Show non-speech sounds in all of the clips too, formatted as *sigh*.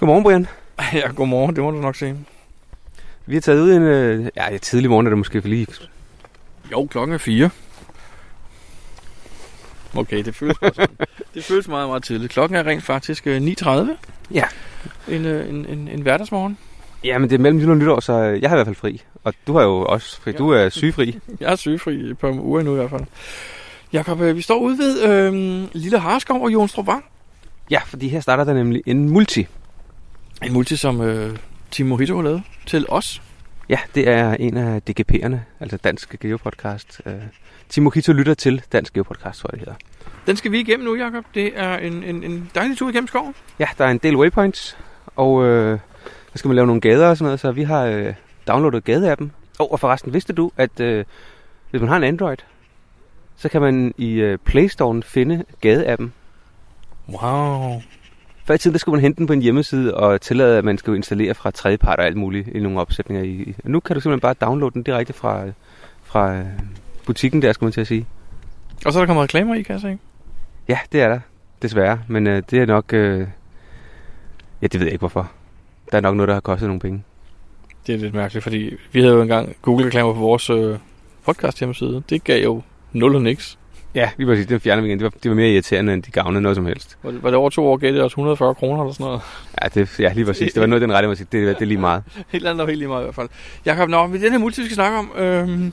Godmorgen, Brian. *laughs* Ja, godmorgen, det må du nok se. Vi er taget ud en... Øh, ja, tidlig morgen er det måske for lige... Jo, klokken er fire. Okay, det føles, bare *laughs* sådan. det føles meget, meget tidligt. Klokken er rent faktisk øh, 9.30. Ja. En, øh, en, en, en hverdagsmorgen. Ja, men det er mellem jul og nytår, så øh, jeg har i hvert fald fri. Og du har jo også fri. Du er sygefri. Jeg er sygefri i et par uger endnu i hvert fald. Jakob, øh, vi står ude ved øh, Lille Harskov og Jonstrup Vang. Ja, fordi her starter der nemlig en multi. En multi, som øh, Tim Mojito har lavet til os. Ja, det er en af DGP'erne, altså Dansk Geopodcast. Øh, Timo Kito lytter til Dansk Geopodcast, tror jeg det hedder. Den skal vi igennem nu, Jakob. Det er en, en, en dejlig tur igennem skoven. Ja, der er en del waypoints, og øh, der skal man lave nogle gader og sådan noget, så vi har øh, downloadet gadeappen. Og, og forresten, vidste du, at øh, hvis man har en Android, så kan man i øh, Play Store'en finde gadeappen. Wow. Før i tiden, der skulle man hente den på en hjemmeside og tillade, at man skulle installere fra tredjepart og alt muligt i nogle opsætninger. i- i- Nu kan du simpelthen bare downloade den direkte fra, fra øh, butikken der, skal man til at sige. Og så er der kommet reklamer i, kan jeg se. Ja, det er der. Desværre. Men øh, det er nok... Øh... Ja, det ved jeg ikke hvorfor. Der er nok noget, der har kostet nogle penge. Det er lidt mærkeligt, fordi vi havde jo engang Google-reklamer på vores øh, podcast hjemmeside. Det gav jo nul og niks. Ja, lige præcis. Den fjerner vi igen. Det var, det var mere irriterende, end de gavnede noget som helst. Var det, var det over to år, gav det os 140 kroner eller sådan *laughs* noget. Ja, det, ja lige præcis. Det var noget, i den rette musik. Det, det er lige meget. Helt andet og helt lige meget i hvert fald. Jakob, nå, men den her multi, vi skal snakke om, øhm,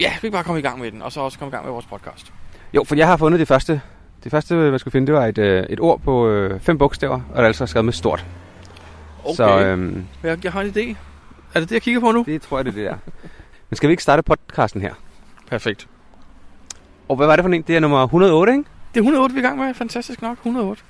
ja, vi kan bare komme i gang med den, og så også komme i gang med vores podcast. Jo, for jeg har fundet det første. Det første, man skulle finde, det var et, øh, et ord på øh, fem bogstaver, og det er altså skrevet med stort. Så øh, jeg, jeg har en idé. Er det det, jeg kigger på nu? det tror jeg, det er det der. Men skal vi ikke starte podcasten her? Perfekt. Og hvad var det for en? Det er nummer 108, ikke? Det er 108, vi er i gang med. Fantastisk nok, 108.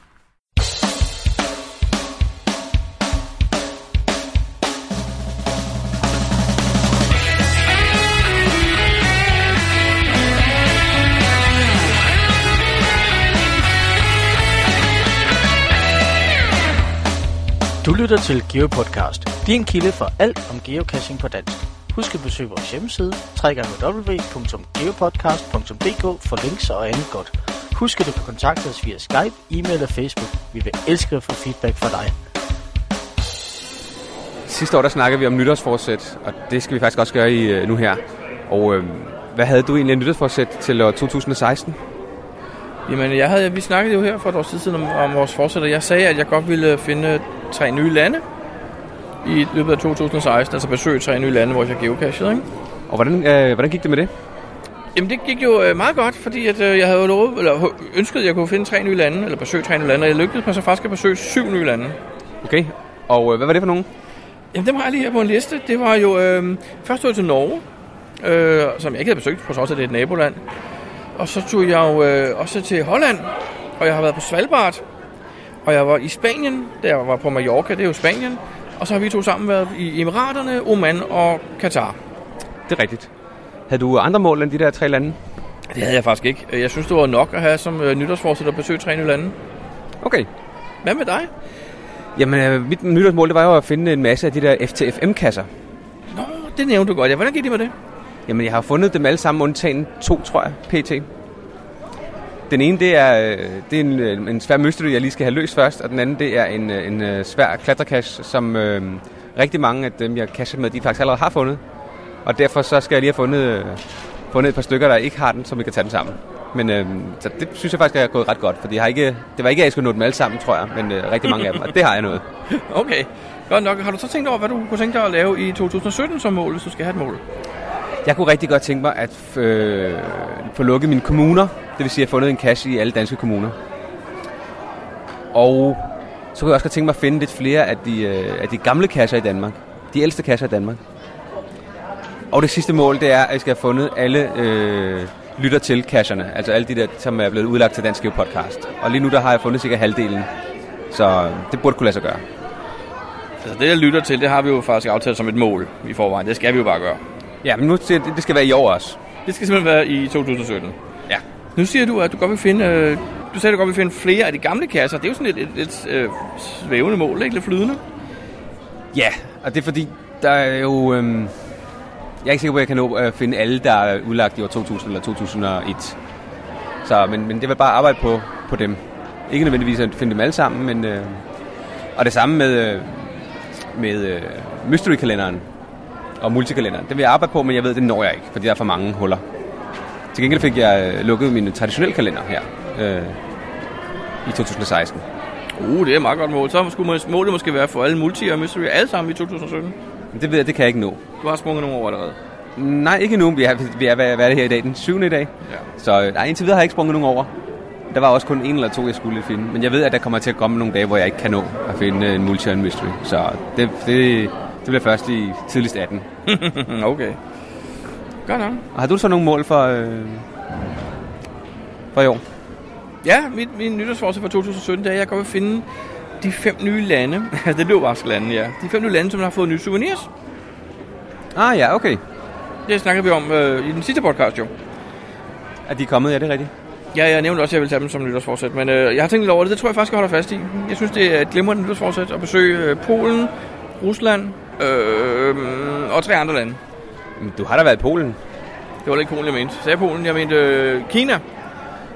Du lytter til GeoPodcast, din kilde for alt om geocaching på dansk. Husk at besøge vores hjemmeside www.geopodcast.dk for links og andet godt. Husk at du kan kontakte os via Skype, e-mail og Facebook. Vi vil elske at få feedback fra dig. Sidste år, der snakkede vi om nytårsforsæt, og det skal vi faktisk også gøre i øh, nu her. Og øh, hvad havde du egentlig af nytårsforsæt til år 2016? Jamen, jeg havde, vi snakkede jo her for et års tid siden om, om vores fortsætter. Jeg sagde, at jeg godt ville øh, finde tre nye lande i løbet af 2016, altså besøge tre nye lande, hvor jeg geocachede, ikke? Og hvordan, øh, hvordan gik det med det? Jamen, det gik jo øh, meget godt, fordi at, øh, jeg havde jo lovet, eller øh, ønsket, at jeg kunne finde tre nye lande, eller besøge tre nye lande, og jeg lykkedes mig så faktisk at besøge syv nye lande. Okay, og øh, hvad var det for nogen? Jamen, dem har jeg lige her på en liste. Det var jo øh, først tog jeg til Norge, øh, som jeg ikke havde besøgt, på trods af, at det er et naboland. Og så tog jeg jo øh, også til Holland, og jeg har været på Svalbard. Og jeg var i Spanien, da jeg var på Mallorca, det er jo Spanien. Og så har vi to sammen været i Emiraterne, Oman og Katar. Det er rigtigt. Havde du andre mål end de der tre lande? Det havde jeg faktisk ikke. Jeg synes, det var nok at have som øh, nytårsforsæt at besøge tre nye lande. Okay. Hvad med *laughs* dig? Jamen, øh, mit nytårsmål, det var jo at finde en masse af de der FTFM-kasser. Nå, det nævnte du godt. Ja, hvordan gik det med det? Jamen, jeg har fundet dem alle sammen, undtagen to, tror jeg, pt. Den ene, det er, øh, det er en, øh, en svær mystery, jeg lige skal have løst først, og den anden, det er en, øh, en øh, svær klatrekasse, som øh, rigtig mange af dem, jeg casher med, de faktisk allerede har fundet. Og derfor så skal jeg lige have fundet, øh, fundet et par stykker, der ikke har den, så vi kan tage dem sammen. Men øh, så det synes jeg faktisk er gået ret godt, for jeg har ikke, det var ikke, at jeg skulle nå dem alle sammen, tror jeg, men øh, rigtig mange af dem, og det har jeg nået. Okay, godt nok. Har du så tænkt over, hvad du kunne tænke dig at lave i 2017 som mål, hvis du skal have et mål? Jeg kunne rigtig godt tænke mig at øh, få lukket mine kommuner. Det vil sige, at jeg har fundet en kasse i alle danske kommuner. Og så kunne jeg også godt tænke mig at finde lidt flere af de, øh, af de gamle kasser i Danmark. De ældste kasser i Danmark. Og det sidste mål, det er, at jeg skal have fundet alle øh, lytter til kasserne. Altså alle de der, som er blevet udlagt til Dansk Geo Podcast. Og lige nu, der har jeg fundet cirka halvdelen. Så det burde kunne lade sig gøre. Altså det, jeg lytter til, det har vi jo faktisk aftalt som et mål i forvejen. Det skal vi jo bare gøre. Ja, men nu det, det skal være i år også. Det skal simpelthen være i 2017. Ja. Nu siger du, at du godt vil finde... Øh, du sagde, at du godt vil finde flere af de gamle kasser. Det er jo sådan et, et, et øh, svævende mål, ikke? Lidt flydende. Ja, og det er fordi, der er jo... Øhm, jeg er ikke sikker på, at jeg kan nå at finde alle, der er udlagt i år 2000 eller 2001. Så, men, men det vil bare arbejde på, på dem. Ikke nødvendigvis at finde dem alle sammen, men øh, Og det samme med, øh, med øh, mystery-kalenderen og multikalenderen. Det vil jeg arbejde på, men jeg ved, det når jeg ikke, fordi der er for mange huller. Til gengæld fik jeg øh, lukket min traditionelle kalender her øh, i 2016. Uh, det er et meget godt mål. Så skulle mål- målet måske være for alle multi og mystery, alle sammen i 2017. Men det ved jeg, det kan jeg ikke nå. Du har sprunget nogle over allerede. Nej, ikke endnu. Vi er, vi er, hvad er det her i dag? Den syvende i dag. Ja. Så øh, nej, indtil videre har jeg ikke sprunget nogen over. Der var også kun en eller to, jeg skulle finde. Men jeg ved, at der kommer til at komme nogle dage, hvor jeg ikke kan nå at finde øh, en multi og en mystery. Så det, det, det bliver først i tidligst *laughs* 18. Mm, okay. Godt nok. Og har du så nogle mål for, øh, for i år? Ja, mit, min nytårsforsæt for 2017 det er, at jeg kommer at finde de fem nye lande. *laughs* Altså, det blev bare lande, ja. De fem nye lande, som har fået nye souvenirs. Ah ja, okay. Det snakkede vi om øh, i den sidste podcast, jo. Er de kommet? Ja, det er rigtigt. Ja, jeg nævnte også, at jeg ville tage dem som nytårsforsæt, men øh, jeg har tænkt lidt over det. Det tror jeg faktisk, jeg holder fast i. Jeg synes, det er et glimrende nytårsforsæt at besøge øh, Polen, Rusland øh, og tre andre lande. Men Du har da været i Polen. Det var da ikke Polen, jeg mente. Sagde jeg Polen? Jeg mente øh, Kina.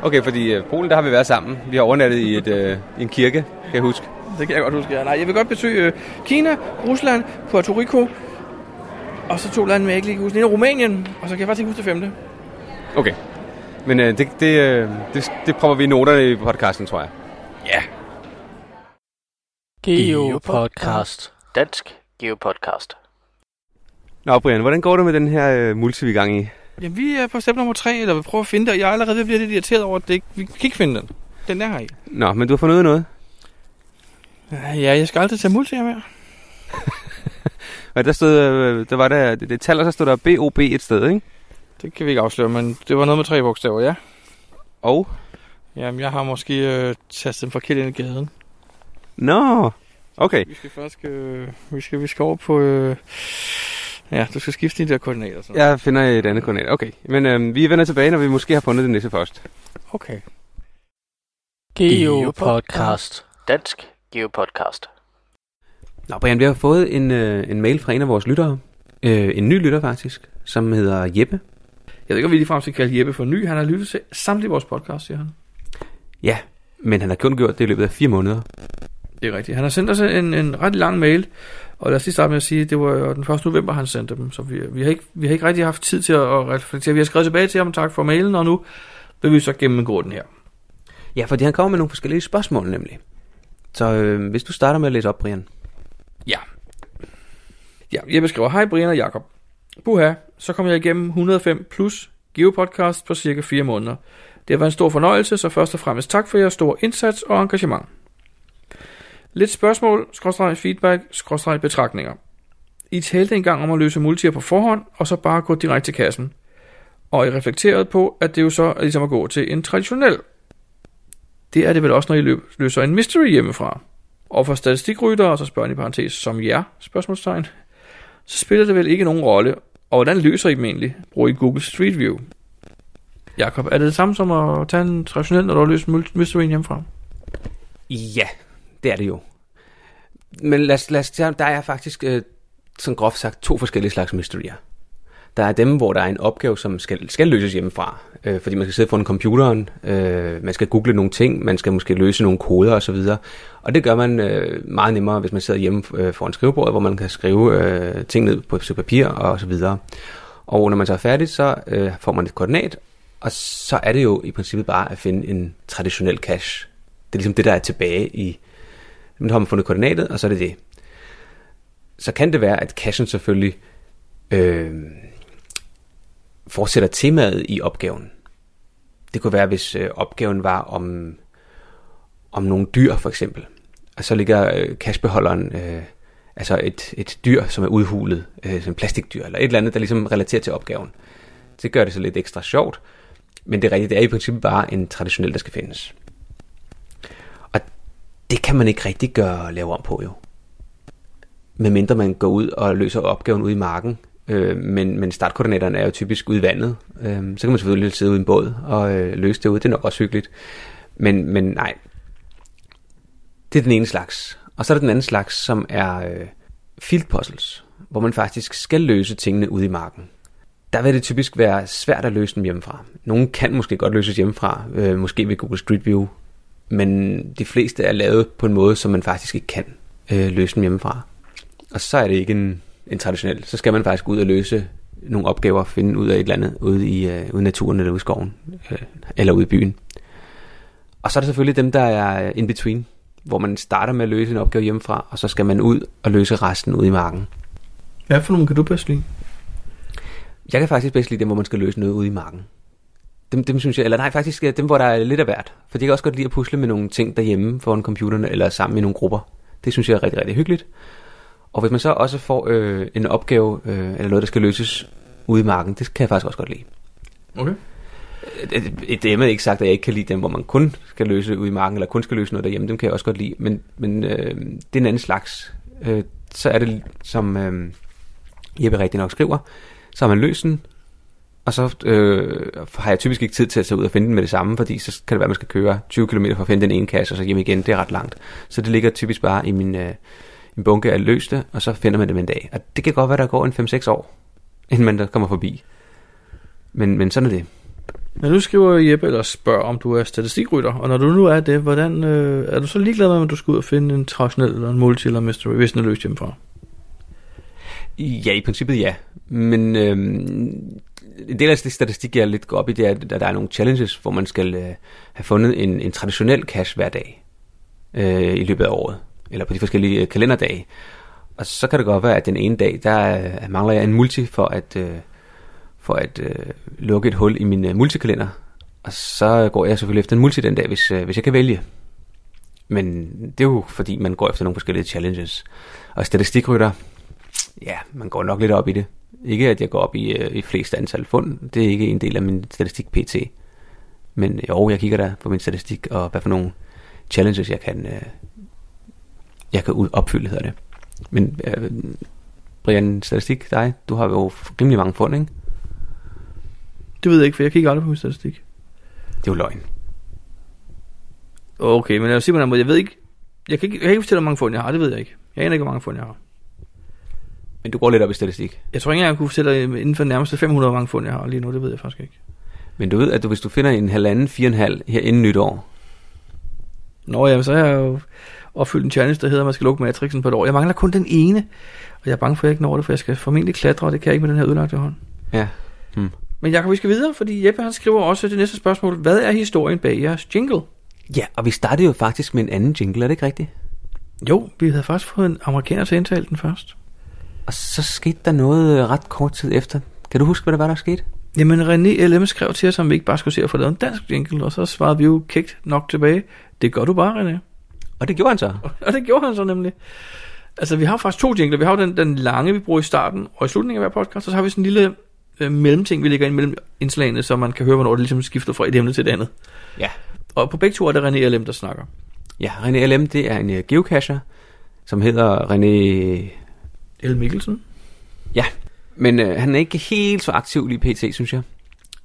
Okay, fordi øh, Polen, der har vi været sammen. Vi har overnattet i, et, øh, i en kirke, kan jeg huske. Det kan jeg godt huske. Ja. Nej, jeg vil godt besøge øh, Kina, Rusland, Puerto Rico, og så to lande, men jeg ikke lige kan huske. Den ene er Rumænien, og så kan jeg faktisk ikke huske det femte. Okay. Men øh, det, det, øh, det, det prøver vi i noterne i podcasten, tror jeg. Ja. Geopodcast. Dansk Geopodcast. Nå, Brian, hvordan går det med den her øh, multi, vi er i gang i? Jamen, vi er på step nummer tre, eller vi prøver at finde det, og jeg er allerede ved at blive lidt irriteret over, at det ikke, vi kan ikke finde den. Den er her i. Nå, men du har fundet ud af noget. Ja, jeg skal aldrig tage multier mere. Og der stod, øh, der var der, det, det tal, og så stod der BOB et sted, ikke? Det kan vi ikke afsløre, men det var noget med tre bogstaver, ja. Og? Jamen, jeg har måske øh, tastet den forkert ind i gaden. Nå, okay. Vi skal først, øh, vi skal, vi skal over på, øh, ja, du skal skifte dine der koordinater. Sådan. Jeg finder et andet koordinat. Okay, men øh, vi vender tilbage, når vi måske har fundet det næste først. Okay. Geopodcast. Dansk Geopodcast. Nå, Brian, vi har fået en, øh, en mail fra en af vores lyttere. Øh, en ny lytter, faktisk, som hedder Jeppe. Jeg ved ikke, om vi ligefrem skal kalde Jeppe for ny. Han har lyttet til samtlige vores podcast, siger han. Ja, men han har kun gjort det i løbet af fire måneder. Det er rigtigt. Han har sendt os en, en ret lang mail, og lad os lige starte med at sige, at det var jo den 1. november, han sendte dem, så vi, vi, har, ikke, vi har ikke rigtig haft tid til at, at reflektere. Vi har skrevet tilbage til ham, tak for mailen, og nu vil vi så gennemgå den her. Ja, fordi han kommer med nogle forskellige spørgsmål, nemlig. Så øh, hvis du starter med at læse op, Brian. Ja. Ja, jeg beskriver, hej Brian og Jakob. Buha, så kom jeg igennem 105 plus Geopodcast på cirka 4 måneder. Det har været en stor fornøjelse, så først og fremmest tak for jeres store indsats og engagement. Lidt spørgsmål, skråstreg feedback, skråstreg betragtninger. I talte engang om at løse multier på forhånd, og så bare gå direkte til kassen. Og I reflekterede på, at det jo så er ligesom at gå til en traditionel. Det er det vel også, når I løb- løser en mystery hjemmefra. Og for statistikryttere, og så spørger han i parentes, som jer, spørgsmålstegn, så spiller det vel ikke nogen rolle, og hvordan løser I dem egentlig? Bruger I Google Street View? Jakob, er det det samme som at tage en traditionel, når du har løst mul- mysteryen hjemmefra? Ja, det er det jo. Men lad os, lad os, der er faktisk, øh, sådan groft sagt, to forskellige slags mysterier. Der er dem, hvor der er en opgave, som skal, skal løses hjemmefra, øh, fordi man skal sidde foran computeren, øh, man skal google nogle ting, man skal måske løse nogle koder osv. Og det gør man øh, meget nemmere, hvis man sidder hjemme øh, foran skrivebordet, hvor man kan skrive øh, ting ned på et stykke papir og så videre. Og når man så er færdig, så øh, får man et koordinat, og så er det jo i princippet bare at finde en traditionel cache. Det er ligesom det, der er tilbage i... Nu har man fundet koordinatet, og så er det det. Så kan det være, at cachen selvfølgelig øh, fortsætter temaet i opgaven. Det kunne være, hvis øh, opgaven var om, om nogle dyr, for eksempel. Og så ligger øh, cachebeholderen, øh, altså et, et dyr, som er udhulet, øh, sådan en plastikdyr, eller et eller andet, der ligesom relaterer til opgaven. Det gør det så lidt ekstra sjovt, men det er rigtigt, det er i princippet bare en traditionel, der skal findes. Og det kan man ikke rigtig gøre lave om på jo. Medmindre man går ud og løser opgaven ude i marken. Øh, men, men startkoordinaterne er jo typisk ude i vandet. Øh, så kan man selvfølgelig sidde ude i en båd og øh, løse det ude. Det er nok også hyggeligt. Men, men nej. Det er den ene slags. Og så er der den anden slags, som er øh, field puzzles, hvor man faktisk skal løse tingene ude i marken der vil det typisk være svært at løse dem hjemmefra. Nogle kan måske godt løses hjemmefra, øh, måske ved Google Street View, men de fleste er lavet på en måde, som man faktisk ikke kan. øh, løse dem hjemmefra. Og så er det ikke en, en traditionel. Så skal man faktisk ud og løse nogle opgaver, finde ud af et eller andet ude i øh, ude i naturen eller ude i skoven, øh, eller ude i byen. Og så er der selvfølgelig dem, der er in between, hvor man starter med at løse en opgave hjemmefra, og så skal man ud og løse resten ude i marken. Hvad for nogen kan du bedst lide? Jeg kan faktisk bedst lide dem, hvor man skal løse noget ude i marken. Dem, dem synes jeg, eller nej, faktisk øh, dem, hvor der er lidt af hvert. For jeg kan også godt lide at pusle med nogle ting derhjemme foran computeren, eller sammen i nogle grupper. Det synes jeg er rigtig, rigtig hyggeligt. Og hvis man så også får øh, en opgave, øh, eller noget, der skal løses ude i marken, det kan jeg faktisk også godt lide. Okay. Det- det- Det er ikke sagt, at jeg ikke kan lide dem, hvor man kun skal løse ud i marken, eller kun skal løse noget derhjemme. Dem kan jeg også godt lide, men, men øh, det er en anden slags. Øh, så er det, som øh, Jeppe rigtig nok skriver, så har man løst den, og så øh, har jeg typisk ikke tid til at tage ud og finde den med det samme, fordi så kan det være, at man skal køre 20 km for at finde den ene kasse, og så hjem igen. Det er ret langt. Så det ligger typisk bare i min, øh, min bunke af løste, og så finder man dem en dag. Og det kan godt være, der går en 5-6 år, inden man der kommer forbi. Men, men sådan er det. Når du skriver Jeppe, eller spørger, om du er statistikrytter, og når du nu er det, hvordan øh, er du så ligeglad med, om du skal ud og finde en traditionel, eller en multi, eller en mystery, hvis den er løst hjemmefra? Ja, i princippet ja. Men øhm, en del af det statistik, jeg er lidt går op i, det er, at der er nogle challenges, hvor man skal øh, have fundet en, en traditionel cash hver dag øh, i løbet af året, eller på de forskellige øh, kalenderdage. Og så kan det godt være, at den ene dag, der øh, mangler jeg en multi for at, øh, for at øh, lukke et hul i min øh, multikalender. Og så går jeg selvfølgelig efter en multi den dag, hvis, øh, hvis jeg kan vælge. Men det er jo fordi, man går efter nogle forskellige challenges. Og statistikrytter, Ja, man går nok lidt op i det. Ikke at jeg går op i, øh, i flest antal fund. Det er ikke en del af min statistik PT. Men øh, jo, jeg kigger der på min statistik og hvad for nogle challenges jeg kan, øh, jeg kan ud- opfylde, hedder det. Men øh, Brian, statistik, dig, du har jo rimelig mange fund, ikke? Det ved jeg ikke, for jeg kigger aldrig på min statistik. Det er jo løgn. Okay, men altså, lad os sige på den her måde, jeg ved ikke, jeg kan ikke, jeg kan ikke fortælle, hvor mange fund jeg har, det ved jeg ikke. Jeg aner ikke, hvor mange fund jeg har. Men du går lidt op i statistik. Jeg tror ikke engang, jeg kunne fortælle dig inden for de nærmeste 500, hvor mange fund jeg har lige nu, det ved jeg faktisk ikke. Men du ved, at du, hvis du finder en halvanden, fire og en halv her inden nytår, Nå ja, men så har jeg jo opfyldt en challenge, der hedder, at man skal lukke matrixen på et år. Jeg mangler kun den ene, og jeg er bange for, at jeg ikke når det, for jeg skal formentlig klatre, og det kan jeg ikke med den her ødelagte hånd. ja, Men Jacob, vi skal videre, fordi Jeppe han skriver også det næste spørgsmål. Hvad er historien bag jeres jingle? Ja, og vi startede jo faktisk med en anden jingle, er det ikke rigtigt? Jo, vi havde faktisk fået en amerikaner til at indtale den først. Og så skete der noget øh, ret kort tid efter. Kan du huske, hvad der var, der skete? Jamen, René LM skrev til os, om vi ikke bare skulle se at få lavet en dansk jingle, og så svarede vi jo kægt nok tilbage. Det gør du bare, René. Og det gjorde han så. *laughs* Og det gjorde han så nemlig. Altså, vi har faktisk to jingler. Vi har jo den, den lange, vi bruger i starten og i slutningen af hver podcast, og så har vi sådan en lille øh, mellemting, vi lægger ind mellem indslagene, så man kan høre, hvornår det ligesom skifter fra et emne til et andet. Ja. Og på begge to er det René LM, der snakker. Ja, René LM, det er en øh, geocacher, som hedder René... L. Mikkelsen. Ja, men øh, han er ikke helt så aktiv lige pt, synes jeg.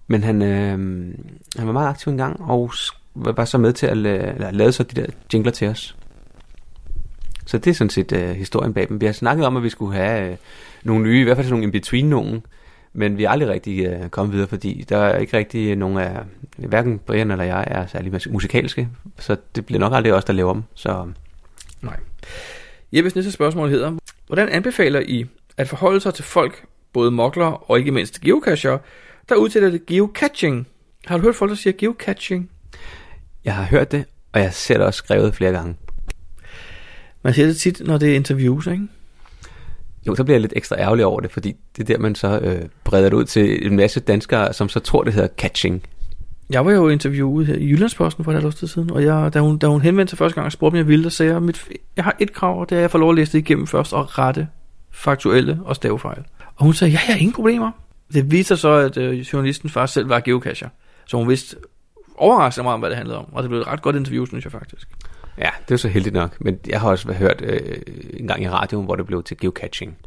Men han, øh, han var meget aktiv engang, og s- var var så med til at la- eller lave så de der jingler til os. Så det er sådan set øh, historien bag dem. Vi har snakket om, at vi skulle have øh, nogle nye, i hvert fald sådan nogle in-between nogen, men vi er aldrig rigtig øh, kommet videre, fordi der er ikke rigtig øh, nogen af, hverken Brian eller jeg er særlig mus- musikalske, så det bliver nok aldrig os, der laver dem. Så Jeppes næste spørgsmål hedder, hvordan anbefaler I at forholde sig til folk, både moklere og ikke mindst geocachere, der udtaler det geocaching? Har du hørt folk, der siger geocaching? Jeg har hørt det, og jeg ser det også skrevet flere gange. Man siger det tit, når det er interviews, ikke? Jo, så bliver jeg lidt ekstra ærgerlig over det, fordi det er der, man så øh, breder det ud til en masse danskere, som så tror, det hedder catching. Jeg var jo interviewet her i Jyllandsposten for et halvt års tid siden, og jeg, da, hun, da hun henvendte sig første gang og spurgte, om jeg ville, der sagde jeg, mit, jeg har et krav, og det er, at jeg får lov at læse det igennem først og rette faktuelle og stavefejl. Og hun sagde, ja, jeg har ingen problemer. Det viste sig så, at øh, journalisten faktisk selv var geocacher, så hun vidste overraskende meget om, hvad det handlede om, og det blev et ret godt interview, synes jeg faktisk. Ja, det er jo så heldigt nok, men jeg har også hørt øh, en gang i radioen, hvor det blev til geocaching.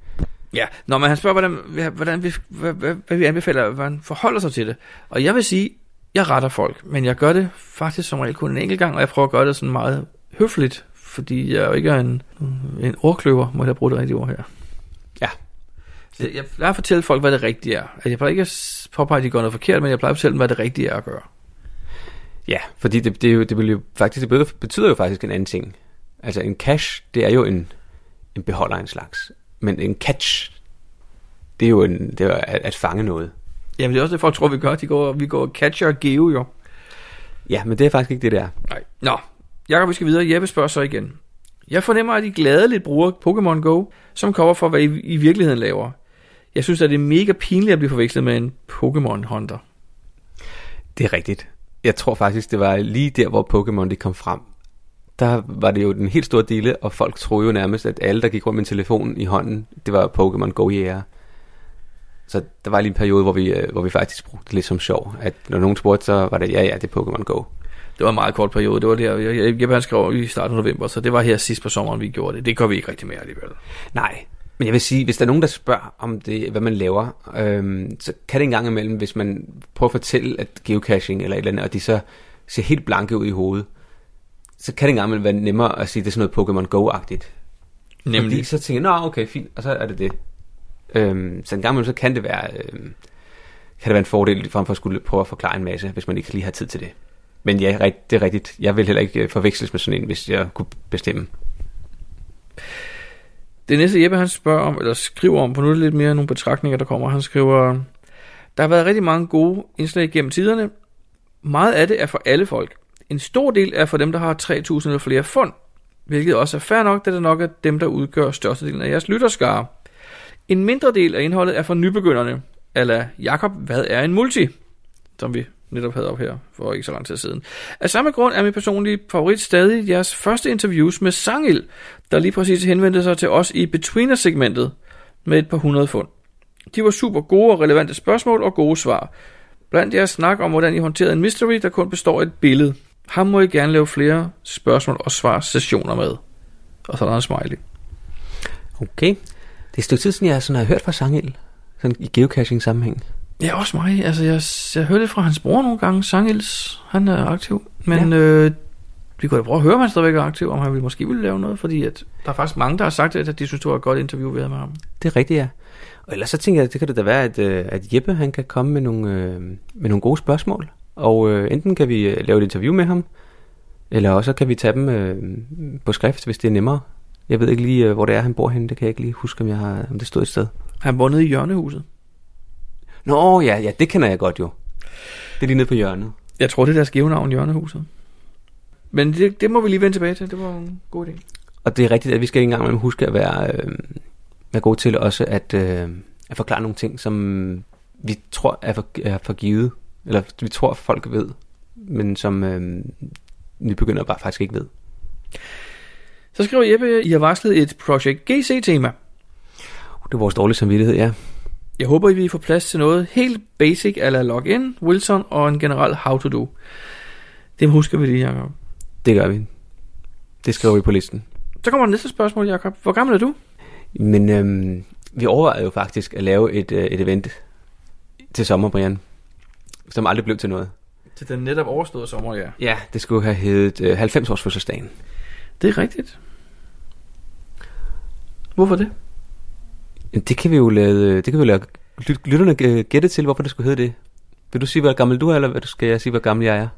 Ja, når man han spørger, hvordan, hva- hvordan vi, hvad, hvad, hvad vi anbefaler, hvordan forholder sig til det. Og jeg vil sige, jeg retter folk, men jeg gør det faktisk som regel kun en enkelt gang, og jeg prøver at gøre det sådan meget høfligt, fordi jeg jo ikke er en, en ordkløver, må jeg bruge det rigtige ord her. Ja. Så jeg plejer at fortælle folk, hvad det rigtige er. Altså, jeg plejer ikke at s- påpege, at de gør noget forkert, men jeg plejer at fortælle dem, hvad det rigtige er at gøre. Ja, fordi det, det, er jo, det, vil jo, faktisk, det betyder jo faktisk en anden ting. Altså en cache, det er jo en, en beholder af en slags. Men en catch, det er jo en, det er at, at fange noget. Jamen det er også det, folk tror, vi gør. De går, vi går catcher og geo jo. Ja, men det er faktisk ikke det, det er. Nej. Nå, Jakob, vi skal videre. Jeppe spørger så igen. Jeg fornemmer, at I gladeligt bruger Pokémon Go som cover for, hvad I i virkeligheden laver. Jeg synes, at det er mega pinligt at blive forvekslet med en Pokémon Hunter. Det er rigtigt. Jeg tror faktisk, det var lige der, hvor Pokémon det kom frem. Der var det jo den helt store dele, og folk troede jo nærmest, at alle, der gik rundt med en telefon i hånden, det var Pokémon go -jæger. Så der var lige en periode, hvor vi, øh, hvor vi faktisk brugte det lidt som sjov. At når nogen spurgte, så var det, ja, ja, det er Pokémon Go. Det var en meget kort periode. Det var der, jeg, jeg, jeg, jeg skrev i starten af november, så det var her sidst på sommeren, vi gjorde det. Det gør vi ikke rigtig mere alligevel. Nej, men jeg vil sige, hvis der er nogen, der spørger om det, hvad man laver, øhm, så kan det en gang imellem, hvis man prøver at fortælle, at geocaching eller et eller andet, og de så ser helt blanke ud i hovedet, så kan det en gang imellem være nemmere at sige, at det er sådan noget Pokémon Go-agtigt. Nemlig. Fordi så tænker jeg, nå okay, fint, og så er det det. Øhm, så en gang imellem, så kan det være, øhm, kan det være en fordel, frem for at skulle prøve at forklare en masse, hvis man ikke lige har tid til det. Men ja, rigt- det er rigtigt. Jeg vil heller ikke øh, forveksles med sådan en, hvis jeg kunne bestemme. Det næste Jeppe han spørger om, eller skriver om, for nu er det lidt mere nogle betragtninger, der kommer. Han skriver, der har været rigtig mange gode indslag gennem tiderne. Meget af det er for alle folk. En stor del er for dem, der har 3.000 eller flere fund, hvilket også er fair nok, da det nok er dem, der udgør størstedelen af jeres lytterskare. En mindre del af indholdet er for nybegynderne, eller Jakob, hvad er en multi? Som vi netop havde op her for ikke så lang tid siden. Af samme grund er min personlige favorit stadig jeres første interviews med Sangil, der lige præcis henvendte sig til os i Betweener-segmentet med et par hundrede fund. De var super gode og relevante spørgsmål og gode svar. Blandt jeres snak om, hvordan I håndterede en mystery, der kun består af et billede. Ham må I gerne lave flere spørgsmål og svar sessioner med. Og så er der en smiley. Okay. Det er et stykke tid siden, jeg sådan har hørt fra Sangel, sådan i geocaching-sammenhæng. Ja, også mig. Altså, jeg, jeg hørte det fra hans bror nogle gange, Sangels. Han er aktiv. Men ja. øh, vi kunne da prøve at høre, om han stadigvæk er aktiv, om han ville, måske ville lave noget, fordi at der er faktisk mange, der har sagt, at de synes, det var et godt interview, vi havde med ham. Det er rigtigt, ja. Og ellers så tænker jeg, det kan det da være, at, øh, at Jeppe han kan komme med nogle, øh, med nogle gode spørgsmål. Og øh, enten kan vi øh, lave et interview med ham, eller også kan vi tage dem øh, på skrift, hvis det er nemmere. Jeg ved ikke lige, øh, hvor det er, han bor henne. Det kan jeg ikke lige huske, om, jeg har, om det stod et sted. Han var nede i hjørnehuset. Nå, ja, ja, det kender jeg godt jo. Det er lige nede på hjørnet. Jeg tror, det er deres givenavn, hjørnehuset. Men det, det må vi lige vende tilbage til. Det var en god idé. Og det er rigtigt, at vi skal ikke engang imellem huske at være, øh, være gode til også at, øh, at forklare nogle ting, som vi tror er for, er for givet, eller vi tror, folk ved, men som øh, nybegyndere bare faktisk ikke ved. Uh, Så skriver Jeppe, I har varslet et Project GC-tema. Det er vores dårlige samvittighed, ja. Jeg håber, I vil få plads til noget helt basic, eller login, Wilson og en generel how to do. Det husker vi lige, Jacob. Det gør vi. Det skriver vi på listen. Så kommer det næste spørgsmål, Jacob. Hvor gammel er du? Men øhm, vi overvejede jo faktisk at lave et, øh, et event til sommer, Brian, som aldrig blev til noget. Til den netop overståede sommer, ja. Ja, det skulle have heddet øh, 90 års fødselsdagen. Det er rigtigt. Hvorfor det? Det kan vi jo lade, øh, det kan vi lade lyt- lytterne øh, gætte til, hvorfor det skulle hedde det. Vil du sige, hvor gammel du er, eller skal jeg sige, hvor gammel jeg er?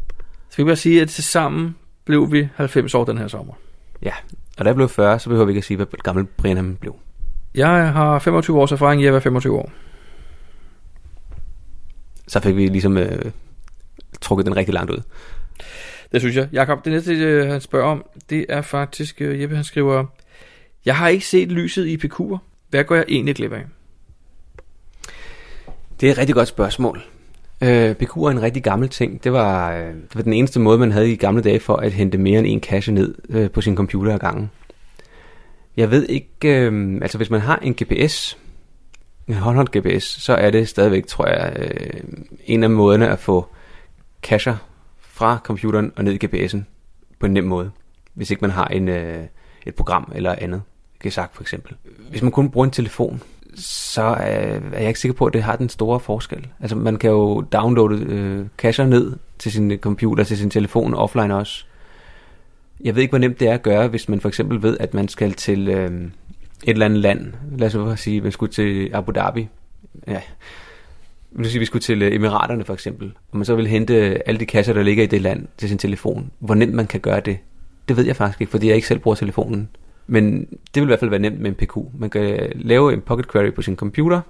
Skal vi bare sige, at tilsammen blev vi 90 år den her sommer. Ja, og da jeg blev 40, så behøver vi ikke at sige, hvor gammel Brian han blev. Jeg har 25 års erfaring, jeg er 25 år. Så fik vi ligesom øh, trukket den rigtig langt ud. Det synes jeg. Jakob, det næste, øh, han spørger om, det er faktisk, øh, Jeppe han skriver, jeg har ikke set lyset i Pikur. Hvad går jeg egentlig glip af? Det er et rigtig godt spørgsmål. Øh, PQ er en rigtig gammel ting. Det var, øh, det var den eneste måde, man havde i gamle dage for at hente mere end en kasse ned øh, på sin computer ad gangen. Jeg ved ikke, øh, altså hvis man har en GPS, en håndholdt GPS, så er det stadigvæk, tror jeg, øh, en af måderne at få kasser fra computeren og ned i GPS'en på en nem måde, hvis ikke man har en, øh, et program eller andet. Gesak for eksempel. Hvis man kun bruger en telefon, så øh, er jeg ikke sikker på, at det har den store forskel. Altså man kan jo downloade øh, cacher ned til sin øh, computer, til sin telefon offline også. Jeg ved ikke, hvor nemt det er at gøre, hvis man for eksempel ved, at man skal til øh, et eller andet land. Lad os bare sige, at man skulle til Abu Dhabi. Ja. Det vil sige, at vi skulle til øh, Emiraterne for eksempel. Og man så vil hente øh, alle de kasser, der ligger i det land til sin telefon. Hvor nemt man kan gøre det, det ved jeg faktisk ikke, fordi jeg ikke selv bruger telefonen. Men det vil i hvert fald være nemt med en PQ. Man kan øh, lave en pocket query på sin computer,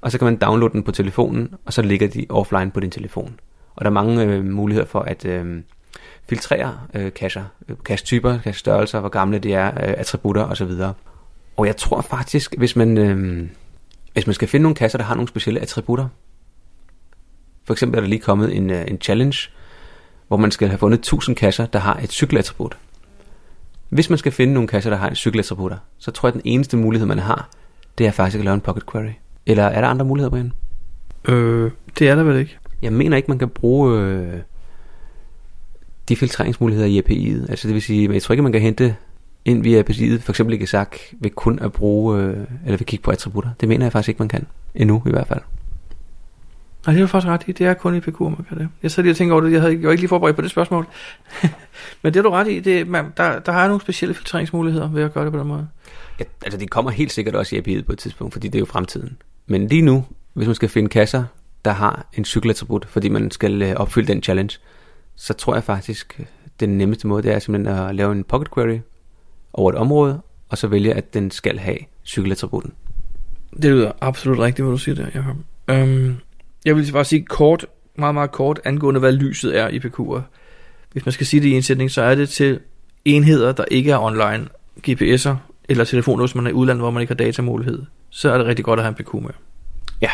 og så kan man downloade den på telefonen, og så ligger de offline på din telefon. Og der er mange øh, muligheder for at øh, filtrere øh, cacher, øh, cache-typer, cache-størrelser, hvor gamle de er, øh, attributter osv. Og jeg tror faktisk, hvis man, øh, hvis man skal finde nogle kasser, der har nogle specielle attributter, for eksempel er der lige kommet en, øh, en challenge, hvor man skal have fundet 1000 kasser, der har et cykelattribut. Hvis man skal finde nogle kasser, der har en cykelattributter, så tror jeg, at den eneste mulighed, man har, det er faktisk at lave en pocket query. Eller er der andre muligheder, Brian? Øh, det er der vel ikke. Jeg mener ikke, man kan bruge øh, de filtreringsmuligheder i API'et. Altså det vil sige, jeg tror ikke, man kan hente ind via API'et, for eksempel ikke sagt, ved kun at bruge, øh, eller ved at kigge på attributter. Det mener jeg faktisk ikke, man kan. Endnu i hvert fald. Nej, det er du faktisk ret i. Det er kun i PQ, man kan det. Jeg sad lige og tænkte over det. Jeg, havde, ikke- jeg var ikke lige forberedt på det spørgsmål. *laughs* Men det er du ret i. Det, man, der, der har nogle specielle filtreringsmuligheder ved at gøre det på den måde. Ja, altså det kommer helt sikkert også i API'et på et tidspunkt, fordi det er jo fremtiden. Men lige nu, hvis man skal finde kasser, der har en cykelattribut, fordi man skal øh, opfylde den challenge, så tror jeg faktisk, øh, den nemmeste måde, det er simpelthen at lave en pocket query over et område, og så vælge, at den skal have cykelattributen. Det lyder absolut rigtigt, hvad du siger der, Jacob. Øhm, jeg vil bare sige kort, meget, meget kort, angående hvad lyset er i PQ'er. Hvis man skal sige det i en sætning, så er det til enheder, der ikke er online, GPS'er eller telefoner, hvis man er i udlandet, hvor man ikke har datamulighed. Så er det rigtig godt at have en PQ med. Ja.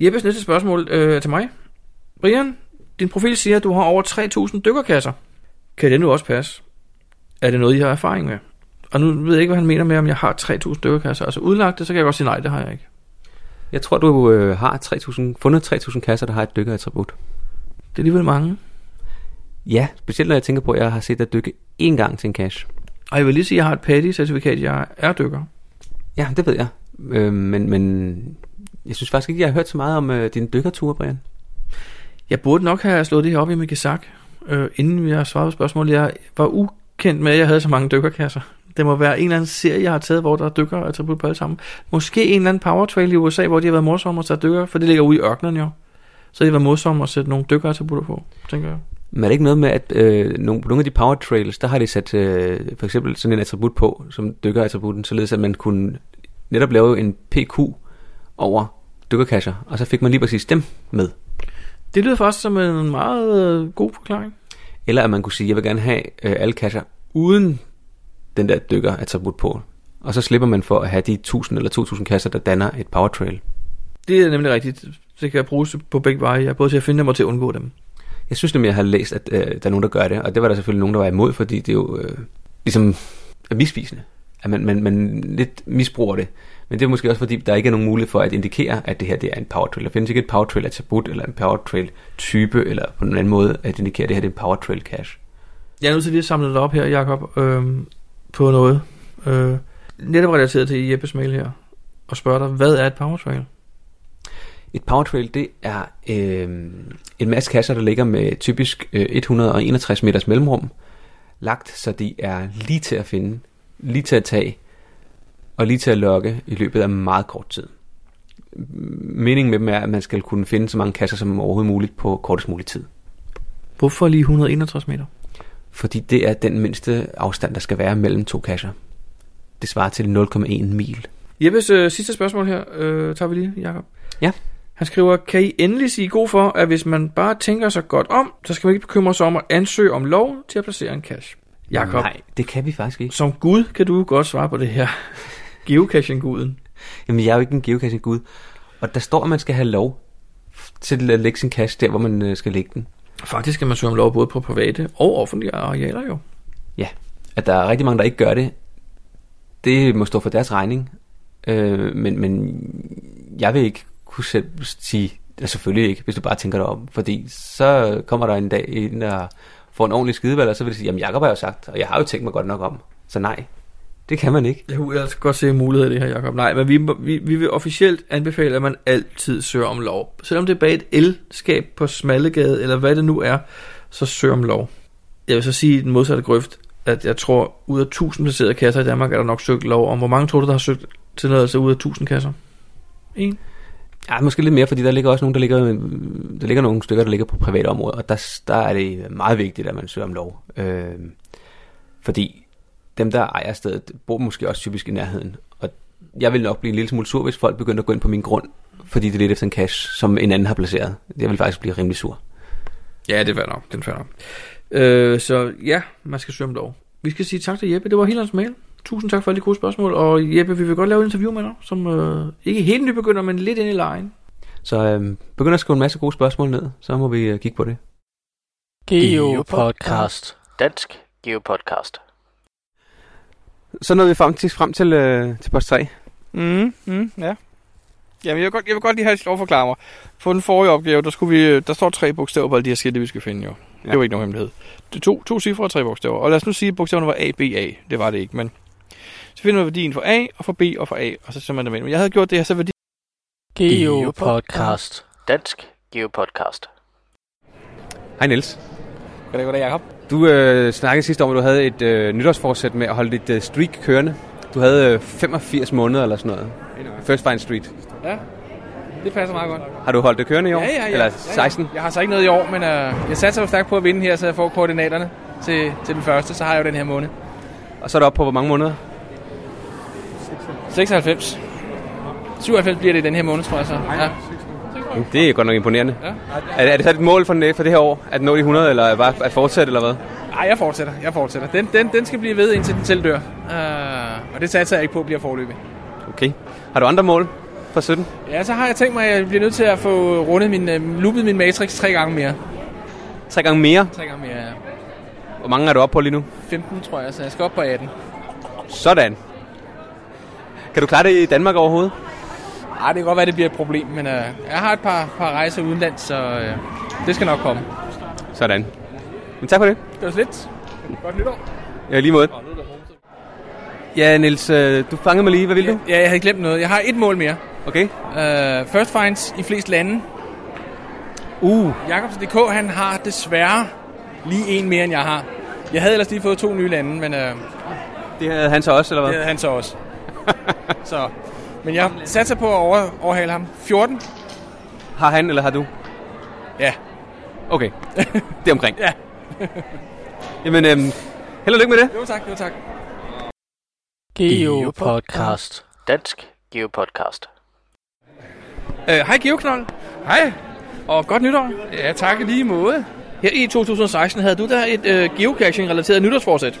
Jeppes næste spørgsmål øh, er til mig. Brian, din profil siger, at du har over 3.000 dykkerkasser. Kan det nu også passe? Er det noget, I har erfaring med? Og nu ved jeg ikke, hvad han mener med, om jeg har 3.000 dykkerkasser. Altså udlagt det, så kan jeg godt sige, nej, det har jeg ikke. Jeg tror, du øh, har 3000, fundet 3.000 kasser, der har et dykkerattribut. Det er alligevel mange. Ja, specielt når jeg tænker på, at jeg har set dig dykke én gang til en cache. Og jeg vil lige sige, at jeg har et PADI-certifikat, jeg er dykker. Ja, det ved jeg. Øh, men, men jeg synes faktisk ikke, jeg har hørt så meget om øh, dine dykkerture, Brian. Jeg burde nok have slået det her op i min gesak, øh, inden jeg svarede på spørgsmålet. Jeg var ukendt med, at jeg havde så mange dykkerkasser. Det må være en eller anden serie, jeg har taget, hvor der er dykker og attribut på alle sammen. Måske en eller anden power trail i USA, hvor de har været morsomme at tage dykker, for det ligger ude i ørkenen jo. Så det var morsomt at sætte nogle dykkerattributter på, tænker jeg. Men er det ikke noget med, at øh, nogle, på nogle af de power trails, der har de sat øh, for eksempel sådan en attribut på, som dykkerattributen, således at man kunne netop lave en PQ over dykkerkasser, og så fik man lige præcis dem med. Det lyder faktisk som en meget øh, god forklaring. Eller at man kunne sige, jeg vil gerne have øh, alle kasser uden den der dykkerattribut på. Og så slipper man for at have de 1000 eller 2000 kasser, der danner et power trail. Det er nemlig rigtigt. Det kan bruges på begge veje. Jeg både til at finde dem og til at undgå dem. Jeg synes nemlig, jeg har læst, at øh, der er nogen, der gør det, og det var der selvfølgelig nogen, der var imod, fordi det er jo øh, ligesom er misvisende, at man, man, man lidt misbruger det. Men det er måske også, fordi der ikke er nogen mulighed for at indikere, at det her det er en power trail. Der findes ikke et power trail attribut, eller en power trail type, eller på en anden måde at indikere, at det her det er en power trail cache. Jeg er nødt til lige at samle det op her, Jakob, øhm, på noget. Øh, netop relateret til Jeppes mail her. Og spørge dig, hvad er et powertrail? Et power trail, det er øh, en masse kasser, der ligger med typisk øh, 161 meters mellemrum, lagt, så de er lige til at finde, lige til at tage, og lige til at lokke i løbet af meget kort tid. Meningen med dem er, at man skal kunne finde så mange kasser som overhovedet muligt på kortest mulig tid. Hvorfor lige 161 meter? Fordi det er den mindste afstand, der skal være mellem to kasser. Det svarer til 0,1 mil. Jeppes øh, sidste spørgsmål her, øh, tager vi lige, Jakob. Ja. Han skriver, kan I endelig sige god for, at hvis man bare tænker sig godt om, så skal man ikke bekymre sig om at ansøge om lov til at placere en cash. Jakob, Nej, det kan vi faktisk ikke. som Gud kan du godt svare på det her. Geocaching-guden. Jamen, jeg er jo ikke en geocaching-gud. Og der står, at man skal have lov til at lægge sin cache der, hvor man øh, skal lægge den. Faktisk skal man søge om lov både på private og offentlige arealer jo. Ja, at der er rigtig mange, der ikke gør det, det må stå for deres regning. Øh, men, men jeg vil ikke kunne selv sige, ja, selvfølgelig ikke, hvis du bare tænker dig om. Fordi så kommer der en dag ind og får en ordentlig skideball, og så vil de sige, jamen Jacob har jo sagt, og jeg har jo tænkt mig godt nok om. Så nej, det kan man ikke. Jeg kunne ellers godt se muligheder i det her, Jacob. Nej, men vi, vi, vi vil officielt anbefale, at man altid søger om lov. Selvom det er bag et elskab på Smallegade, eller hvad det nu er, så søg om lov. Jeg vil så sige i den modsatte grøft, at jeg tror, ud af 1000 placerede kasser i Danmark, er der nok søgt lov om. Hvor mange tror du, der har søgt tilladelse ud af 1000 kasser? En? Ja, måske lidt mere, fordi der ligger også nogle, der ligger, der ligger nogle stykker, der ligger på private områder, og der, der er det meget vigtigt, at man søger om lov. Øh, Øhm, fordi dem, der ejer stedet, bor måske også typisk i nærheden. Og jeg vil nok blive en lille smule sur, hvis folk begynder at gå ind på min grund, fordi det er lidt efter en cash, som en anden har placeret. Jeg vil faktisk blive rimelig sur. Ja, det er fair nok. Den fair nok. Øh, så ja, man skal søge om lov. Vi skal sige tak til Jeppe. Det var hele hans mail. Tusind tak for alle de gode spørgsmål. Og Jeppe, vi vil godt lave et interview med dig, som øh, ikke helt nybegynder, men lidt ind i lejen. Så øh, begynder at skrive en masse gode spørgsmål ned, så må vi øh, kigge på det. Geopodcast. Dansk Geopodcast. Så nåede vi faktisk frem til, øh, til post 3. Mm, mm, ja. Jamen, jeg vil, godt, jeg vil godt lige have lov at forklare mig. På den forrige opgave, der, skulle vi, øh, der står tre bogstaver på alle de her skilte, vi skal finde jo. Ja. Ja. Det var ikke nogen hemmelighed. Det er to, to cifre og tre bogstaver. Og lad os nu sige, at bogstaverne var A, B, A. Det var det ikke, men... Så finder man værdien for A, og for B og for A, og så sætter man dem ind. Men jeg havde gjort det her, så værdi... Geopodcast. Dansk Geopodcast. Hej Niels. Goddag, goddag, Jacob. Du øh, snakkede sidste om, at du havde et øh, nytårsforsæt med at holde dit øh, streak kørende. Du havde øh, 85 måneder eller sådan noget. First Fine Street. Ja, det passer meget godt. Har du holdt det kørende i år? Ja, ja, ja. Eller Ja, ja. 16? Jeg har så ikke noget i år, men øh, jeg satser jo stærkt på at vinde her, så jeg får koordinaterne til, til den første, så har jeg jo den her måned. Og så er du oppe på hvor mange måneder? 96. 97 bliver det i den her måned, tror jeg så. Ja. Det er godt nok imponerende. Ja. Er, er det så et mål for, den- for det her år? At nå de 100, eller bare at fortsætte, eller hvad? Ej, jeg fortsætter. Jeg fortsætter. Den, den, den skal blive ved, indtil den selv dør. Uh, og det satser jeg ikke på bliver forløbig. Okay. Har du andre mål for 17? Ja, så har jeg tænkt mig, at jeg bliver nødt til at få rundet min, øh, loopet min Matrix tre gange mere. Tre gange mere. Tre gange mere, ja. Hvor mange er du oppe på lige nu? 15, tror jeg, så jeg skal op på 18. Sådan. Kan du klare det i Danmark overhovedet? Ej, det kan godt være, det bliver et problem, men øh, jeg har et par, par rejser udenlands, så øh, det skal nok komme. Sådan. Men tak for det. Det var så lidt. Godt nytår. Ja, i lige måde. Ja, Niels, øh, du fangede mig lige. Hvad vil du? Ja, jeg havde glemt noget. Jeg har et mål mere. Okay. Uh, first finds i flest lande. Uh, Jakobs DK, han har desværre lige en mere, end jeg har. Jeg havde ellers lige fået to nye lande, men uh, det det havde han så også, eller hvad? havde han så *laughs* også. så. Men jeg satser på at over, overhale ham. 14? Har han, eller har du? Ja. Okay. *laughs* Det er omkring. Ja. Jamen, øhm, *laughs* held og lykke med det. Jo tak, jo tak. Geopodcast. Dansk Geopodcast. Øh, Hej, Geoknold. Hej. Og godt nytår. Ja, tak i lige måde. Her i 2016 havde du da et øh, geocaching-relateret nytårsforsæt.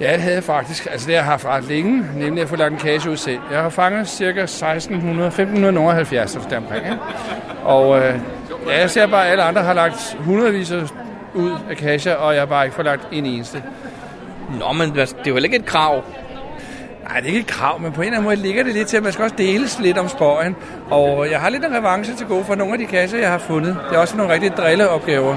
Ja, det havde jeg faktisk. Altså, det har jeg haft ret længe, nemlig at få lagt en kasse ud selv. Jeg har fanget ca. 1600, 1570 eller sådan omkring. ikke? Og øh, ja, jeg ser bare, at alle andre har lagt hundredvis af- ud af kasser, og jeg har bare ikke fået lagt en eneste. Nå, men altså, det er jo heller ikke et krav. Nej, det er ikke et krav, men på en eller anden måde ligger det lidt til, at man skal også deles lidt om spøjen. Og jeg har lidt en revanche til gode for nogle af de kasser, jeg har fundet. Det er også nogle rigtige drilleopgaver.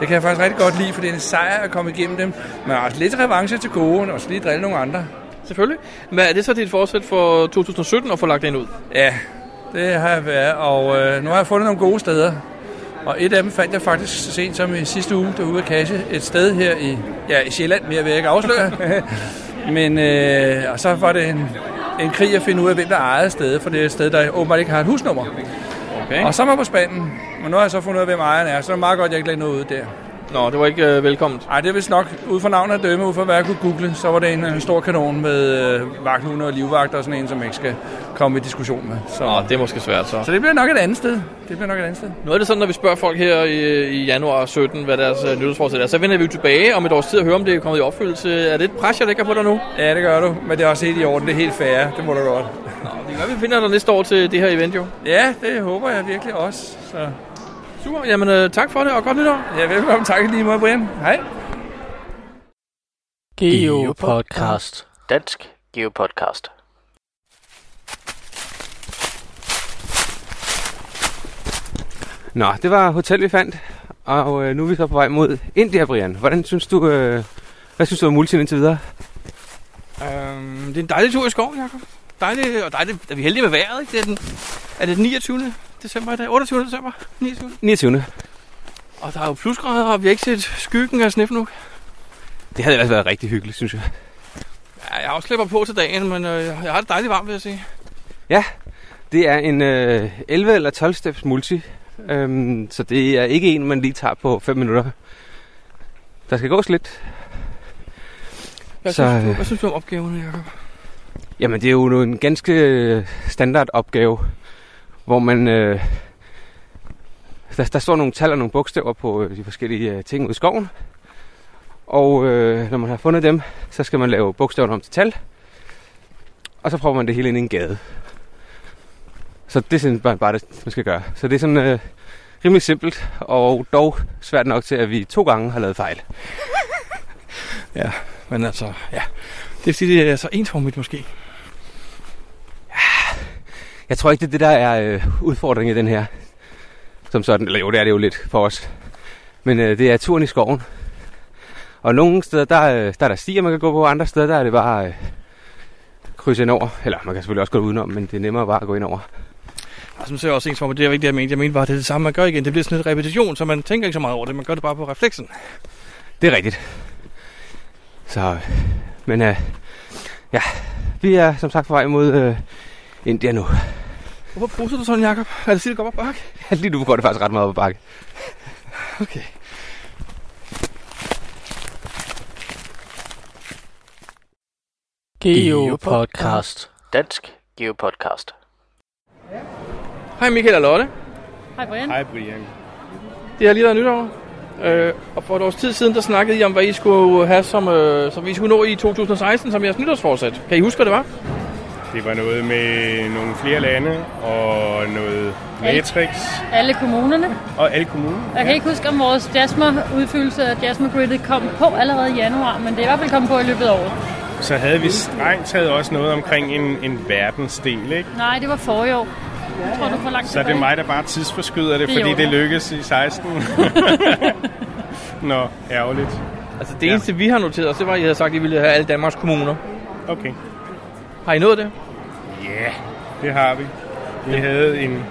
Det kan jeg faktisk rigtig godt lide, for det er en sejr at komme igennem dem. Men også lidt revanche til gode, og så lige drille nogle andre. Selvfølgelig. Men er det så dit forsæt for 2017 at få lagt den ud? Ja, det har jeg været, og øh, nu har jeg fundet nogle gode steder. Og et af dem fandt jeg faktisk så sent som i sidste uge derude af Kasse, et sted her i, ja, i Sjælland, mere vil jeg ikke *laughs* afsløre. Men øh, og så var det en, en krig at finde ud af, hvem der ejede stedet, for det er et sted, der åbenbart ikke har et husnummer. Okay. Og så var jeg på spanden, og nu har jeg så fundet ud af, hvem ejeren er, så er det meget godt, at jeg ikke lagde noget ud der. Nå, det var ikke øh, velkomment. Ej, det er vist nok, ud fra navnet at dømme, ud fra hvad jeg kunne google, så var det en, en stor kanon med øh, vagthunde og livvagter og sådan en, som jeg ikke skal komme i diskussion med. Så. Nå, det er måske svært så. Så det bliver nok et andet sted. Det bliver nok et andet sted. Nu er det sådan, når vi spørger folk her i, i januar 17, hvad deres øh, nytårsforsæt er, så vender vi jo tilbage om et års tid og hører, om det er kommet i opfyldelse. Er det et pres, jeg lægger på dig nu? Ja, det gør du. Men det er også helt i orden. Det er helt fair. Det må du godt. Det kan være, vi finder dig næste år til det her event jo. Ja, det håber jeg virkelig også. Så Super, jamen øh, tak for det, og godt nytår. ja, velkommen. Tak i lige måde, Brian. Hej. Geopodcast. Dansk Geopodcast. Nå, det var hotel, vi fandt. Og øh, nu er vi så på vej mod India, Brian. Hvordan synes du, øh, hvad synes du om multien indtil videre? Øhm, det er en dejlig tur i skoven, Jacob. Dejlig, og dejligt. Er vi heldige med vejret, ikke? Det er, den, er det den 29. december i dag? 28. december? 29. 29. Og der er jo plusgrader, og vi har ikke set skyggen af snef nu. Det havde ellers været rigtig hyggeligt, synes jeg. Ja, jeg har også slipper på til dagen, men øh, jeg har det dejligt varmt, vil jeg sige. Det er en øh, 11 eller 12 steps multi. Øhm, så det er ikke en, man lige tager på 5 minutter. Der skal gås lidt. Hvad Hvad, Så, så, synes, du, øh, hvad synes du om opgaverne, Jacob? Jamen, det er jo nu en ganske øh, standard opgave, hvor man... Øh, der, der står nogle tal og nogle bogstaver på øh, de forskellige øh, ting ud i skoven. Og øh, når man har fundet dem, så skal man lave bogstaverne om til tal. Og så prøver man det hele ind i en gade. Så det er sådan bare, bare det, man skal gøre. Så det er sådan øh, rimelig simpelt, og dog svært nok til, at vi to gange har lavet fejl. Men altså, ja. Det er fordi, det er så ensformigt måske. Jeg tror ikke, det er det, der er øh, udfordringen i den her. Som sådan, eller jo, det er det jo lidt for os. Men øh, det er turen i skoven. Og nogle steder, der, øh, der er der stier, man kan gå på, og andre steder, der er det bare øh, krydse ind over. Eller man kan selvfølgelig også gå udenom, men det er nemmere bare at gå ind over. Og som ser jeg også ensformigt, det er jo ikke det, jeg mente. Jeg mente bare, at det er det samme, man gør igen. Det bliver sådan lidt repetition, så man tænker ikke så meget over det. Man gør det bare på refleksen. Det er rigtigt. Så, øh, men øh, ja, vi er som sagt på vej mod øh, Indien nu. *laughs* Hvorfor bruser du sådan, Jacob? Er det sige, det går op ad bakke? Lige nu går det faktisk ret meget op ad bakke. Okay. Geopodcast. Dansk Geopodcast. Hej Michael og Lotte. Hej Brian. Hej Brian. Det har lige været nytår. Øh, og for et års tid siden, der snakkede I om, hvad I skulle have, som, øh, som I skulle nå i 2016, som jeres nytårsforsæt. Kan I huske, hvad det var? Det var noget med nogle flere lande og noget Matrix Alle kommunerne. og alle kommuner. Jeg kan ikke huske, om vores Jasmer-udfyldelse af Jasmer-gridet kom på allerede i januar, men det er i hvert fald kommet på i løbet af året. Så havde vi strengt taget også noget omkring en, en verdensdel, ikke? Nej, det var forrige år. Jeg tror, du er for langt Så det er tilbage. mig, der bare tidsforskyder det, Det er fordi i orden. det lykkedes i 16. *laughs* *laughs* Nå, ærgerligt. Altså det eneste, vi har noteret os, det var, at I havde sagt, at I ville have alle Danmarks kommuner. Okay. Har I nået det? Ja, yeah, det har vi. Vi havde en,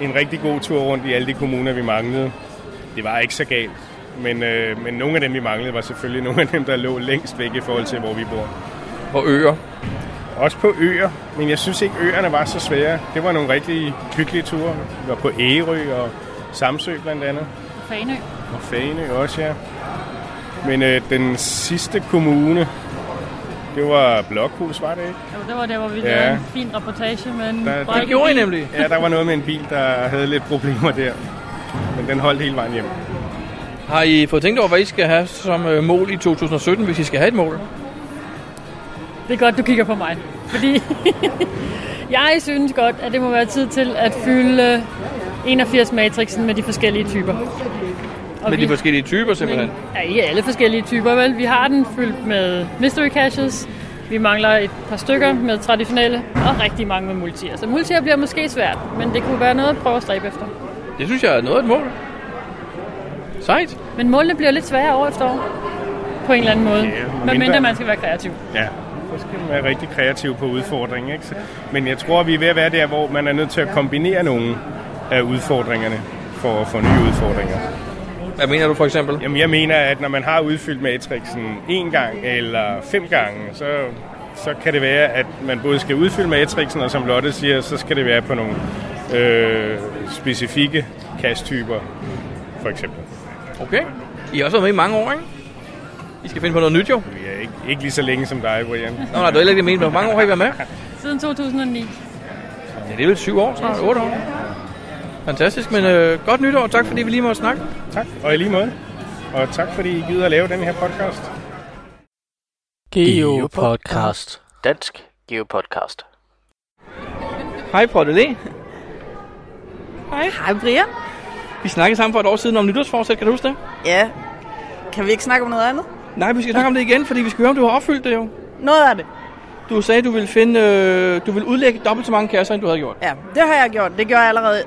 en rigtig god tur rundt i alle de kommuner, vi manglede. Det var ikke så galt, men, øh, men nogle af dem, vi manglede, var selvfølgelig *laughs* nogle af dem, der lå længst væk i forhold til, hvor vi bor. Og øer. Også på øer, men jeg synes ikke, øerne var så svære. Det var nogle rigtig hyggelige ture. Vi var på Ærø og Samsø blandt andet, Fanø. og Faneø også, ja. Men øh, den sidste kommune, det var Blokhus, var det ikke? Jo, det var der, hvor vi Ja. lavede en fin reportage med en Der- det brækket Det gjorde I bil. nemlig. Ja, der var noget med en bil, der havde lidt problemer der. Men den holdt hele vejen hjem. Har I fået tænkt over, hvad I skal have som øh, mål i 2017, hvis I skal have et mål? Det er godt, du kigger på mig. Fordi *laughs* jeg synes godt, at det må være tid til at fylde 81-matrixen med de forskellige typer. Og Med vi- de forskellige typer simpelthen. Men, ja, ikke alle forskellige typer, vel? Vi har den fyldt med mystery caches. Vi mangler et par stykker med traditionelle, og rigtig mange med multier. Så multier bliver måske svært, men det kunne være noget at prøve at stræbe efter. Det synes jeg er noget af et mål. Sejt. Men målene bliver lidt sværere år efter år, på en eller anden måde. Ja, Hvad mindre mindre- man skal være kreativ. Ja. Så skal man være rigtig kreativ på udfordringen. Ikke? Så- Men jeg tror, vi er ved at være der, hvor man er nødt til at kombinere nogle af udfordringerne for at få nye udfordringer. Hvad mener du for eksempel? Jamen, jeg mener, at når man har udfyldt matrixen en gang eller fem gange, så, så kan det være, at man både skal udfylde matrixen, og som Lotte siger, så skal det være på nogle øh, specifikke kasttyper, for eksempel. Okay. I har også været med i mange år, ikke? I skal finde på noget nyt, jo. Vi er ikke, ikke lige så længe som dig, Brian. Nå, nej, du er heller ikke det, jeg mente. Hvor mange år har I været *laughs* med? Siden 2009. Ja, det er vel syv år snart, otte år. Fantastisk, men øh, godt nytår. Tak fordi vi lige måtte snakke. Tak, og i lige måde. Og tak fordi I gider at lave den her podcast. Geopodcast. Dansk Geopodcast. Hej, Portelé. Hej Brian. Vi snakkede sammen for et år siden om nytårsforsæt, kan du huske det? Ja, kan vi ikke snakke om noget andet? Nej, vi skal snakke om det igen, fordi vi skal høre, om du har opfyldt det jo. Noget af det. Du sagde, du ville, finde, øh, du ville udlægge dobbelt så mange kasser, end du havde gjort. Ja, det har jeg gjort. Det gjorde jeg allerede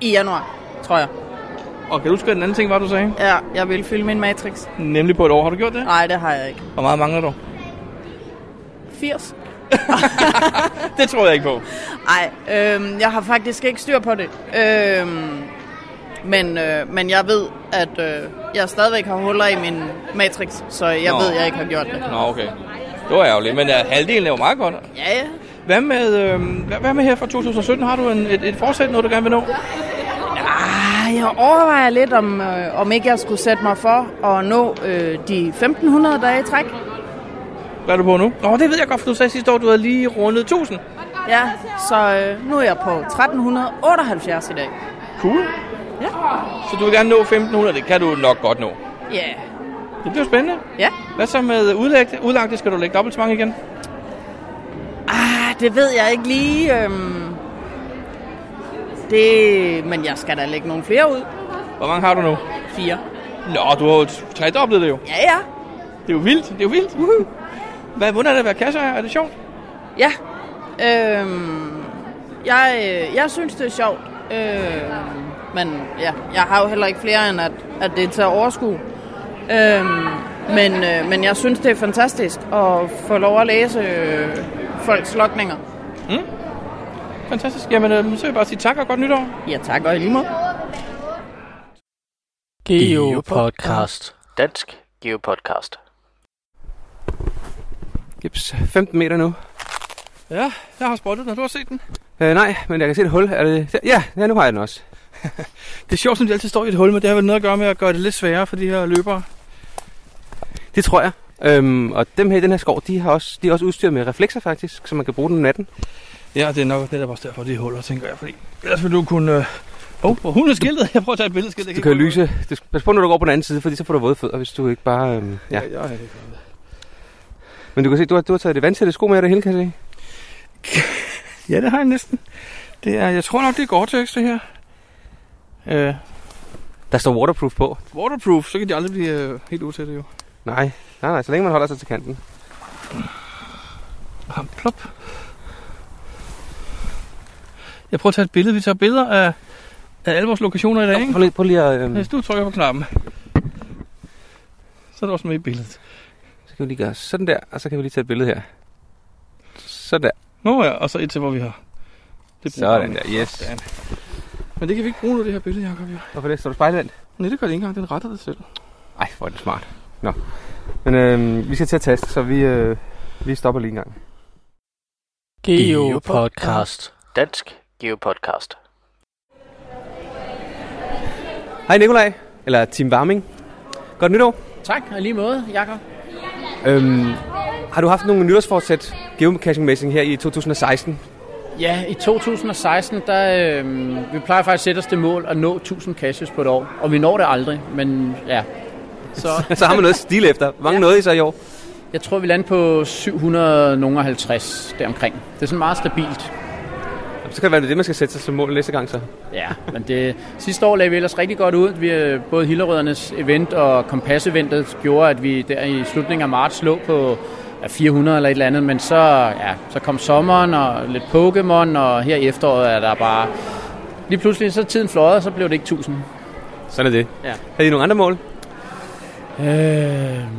i januar, tror jeg. Og kan du huske, hvad den anden ting var, du sagde? Ja, jeg ville fylde min matrix. Nemlig på et år. Har du gjort det? Nej, det har jeg ikke. Hvor meget mangler *laughs* du? 80? Det tror jeg ikke på. Nej, øhm, jeg har faktisk ikke styr på det. Øhm, men, øh, men jeg ved, at øh, jeg stadigvæk har huller i min matrix, så jeg Nå. Nå. ved, at jeg ikke har gjort det. Nå, okay. Det var ærgerligt, men ja, halvdelen er jo meget godt. Ja, ja. Hvad med, øh, hvad- hvad med her fra 2017? Har du en, et, et forsæt, noget du gerne vil nå? Ah, jeg overvejer lidt, om, øh, om ikke jeg skulle sætte mig for at nå øh, de 1500 dage i træk. Hvad er du på nu? Nå, det ved jeg godt, for du sagde sidste år, du havde lige rundet 1000. Ja, så øh, nu er jeg på 1378 i dag. Cool. Ja. Så du vil gerne nå 1500, det kan du nok godt nå. Ja. Det bliver spændende. Ja. Hvad så med udlægte? Udlagte skal du lægge dobbelt så mange igen. Ah, det ved jeg ikke lige. Øhm, det, men jeg skal da lægge nogle flere ud. Hvor mange har du nu? Fire. Nå, du har jo tredoblet det jo. Ja, ja. Det er jo vildt, det er jo vildt. Woohoo. Hvad, hvordan er det at være kasser? Er det sjovt? Ja. Øhm, jeg, øh, jeg synes, det er sjovt. Øh, men ja, jeg har jo heller ikke flere end, at, at det er til at overskue. Øhm, men, øh, men jeg synes, det er fantastisk at få lov at læse øh, folks lokninger. Mm. Fantastisk. Jamen, øh, så vil jeg bare sige tak og godt nytår. Ja, tak og i lige måde. Geopodcast. Dansk Geopodcast. Jeps, 15 meter nu. Ja, jeg har spottet den, og du har set den. Øh, nej, men jeg kan se et hul. Er det... Ja, ja, nu har jeg den også. Det er sjovt, som de altid står i et hul, men det har vel noget at gøre med at gøre det lidt sværere for de her løbere. Det tror jeg. Øhm, og dem her i den her skov, de, har også, de er også udstyret med reflekser faktisk, så man kan bruge dem om natten. Ja, det er nok netop også derfor, de huller, tænker jeg. Fordi ellers vil du kunne... Øh... Oh, hvor hun er skiltet. Jeg prøver at tage et billedskilt. Jeg Du ikke kan jo holde lyse. Du skal, pas på, når du går på den anden side, fordi så får du våde fødder, hvis du ikke bare... Øhm, ja. ud. Ja, ja, ja. Men du kan se, du har, du har taget det vandsætte sko med dig det hele, kan jeg se. Ja, det har jeg næsten. Det er, jeg tror nok, det er Gore-Tex, det her. *laughs* Øh, Der står waterproof på. waterproof, så kan de aldrig blive øh, helt utætte jo. Nej, nej, nej, så længe man holder sig til kanten. Ah, plop. Jeg prøver at tage et billede. Vi tager billeder af, af alle vores lokationer i dag, ikke? Prøv lige, prøv lige at... Øhm, Hvis du trykker på knappen, så er du også med i billedet. så kan vi lige gøre sådan der, og så kan vi lige tage et billede her. Sådan der. Nå ja, og så et til, hvor vi har. Det bruger Sådan vi. der, yes. Sådan. Men det kan vi ikke bruge nu, det her billede, Jacob. Jo. Hvorfor det? Står du spejlvendt? Nej, det gør det ikke engang. Den retter det selv. Ej, hvor er det smart. Nå. Men øhm, vi skal til at teste, så vi, øh, vi stopper lige en gang. Geopodcast. Dansk Geopodcast. Hej Nikolaj, eller Team Warming. Godt nytår. Tak, og i lige måde, Jakob. Øhm, har du haft nogle nytårsfortsæt geocaching-messing her i 2016? Ja, i 2016, der, øh, vi plejer faktisk at sætte os det mål at nå 1000 caches på et år. Og vi når det aldrig, men ja. Så *laughs* så har man noget stil efter. Hvor mange nåede I så i år? jeg tror, vi lander på 750 deromkring. Det er sådan meget stabilt. Jamen, Så kan det være det, er det, man skal sætte sig som mål næste gang så. Ja, men det, sidste år lagde vi ellers rigtig godt ud. Vi, øh, både Hillerødernes event og Kompas-eventet gjorde, at vi der i slutningen af marts lå på ja, 400 eller et eller andet, men så, ja, så kom sommeren og lidt Pokémon, og her i efteråret er der bare... Lige pludselig, så er tiden fløjet, og så blev det ikke 1000. Sådan er det. Ja. Havde I nogle andre mål? Øh,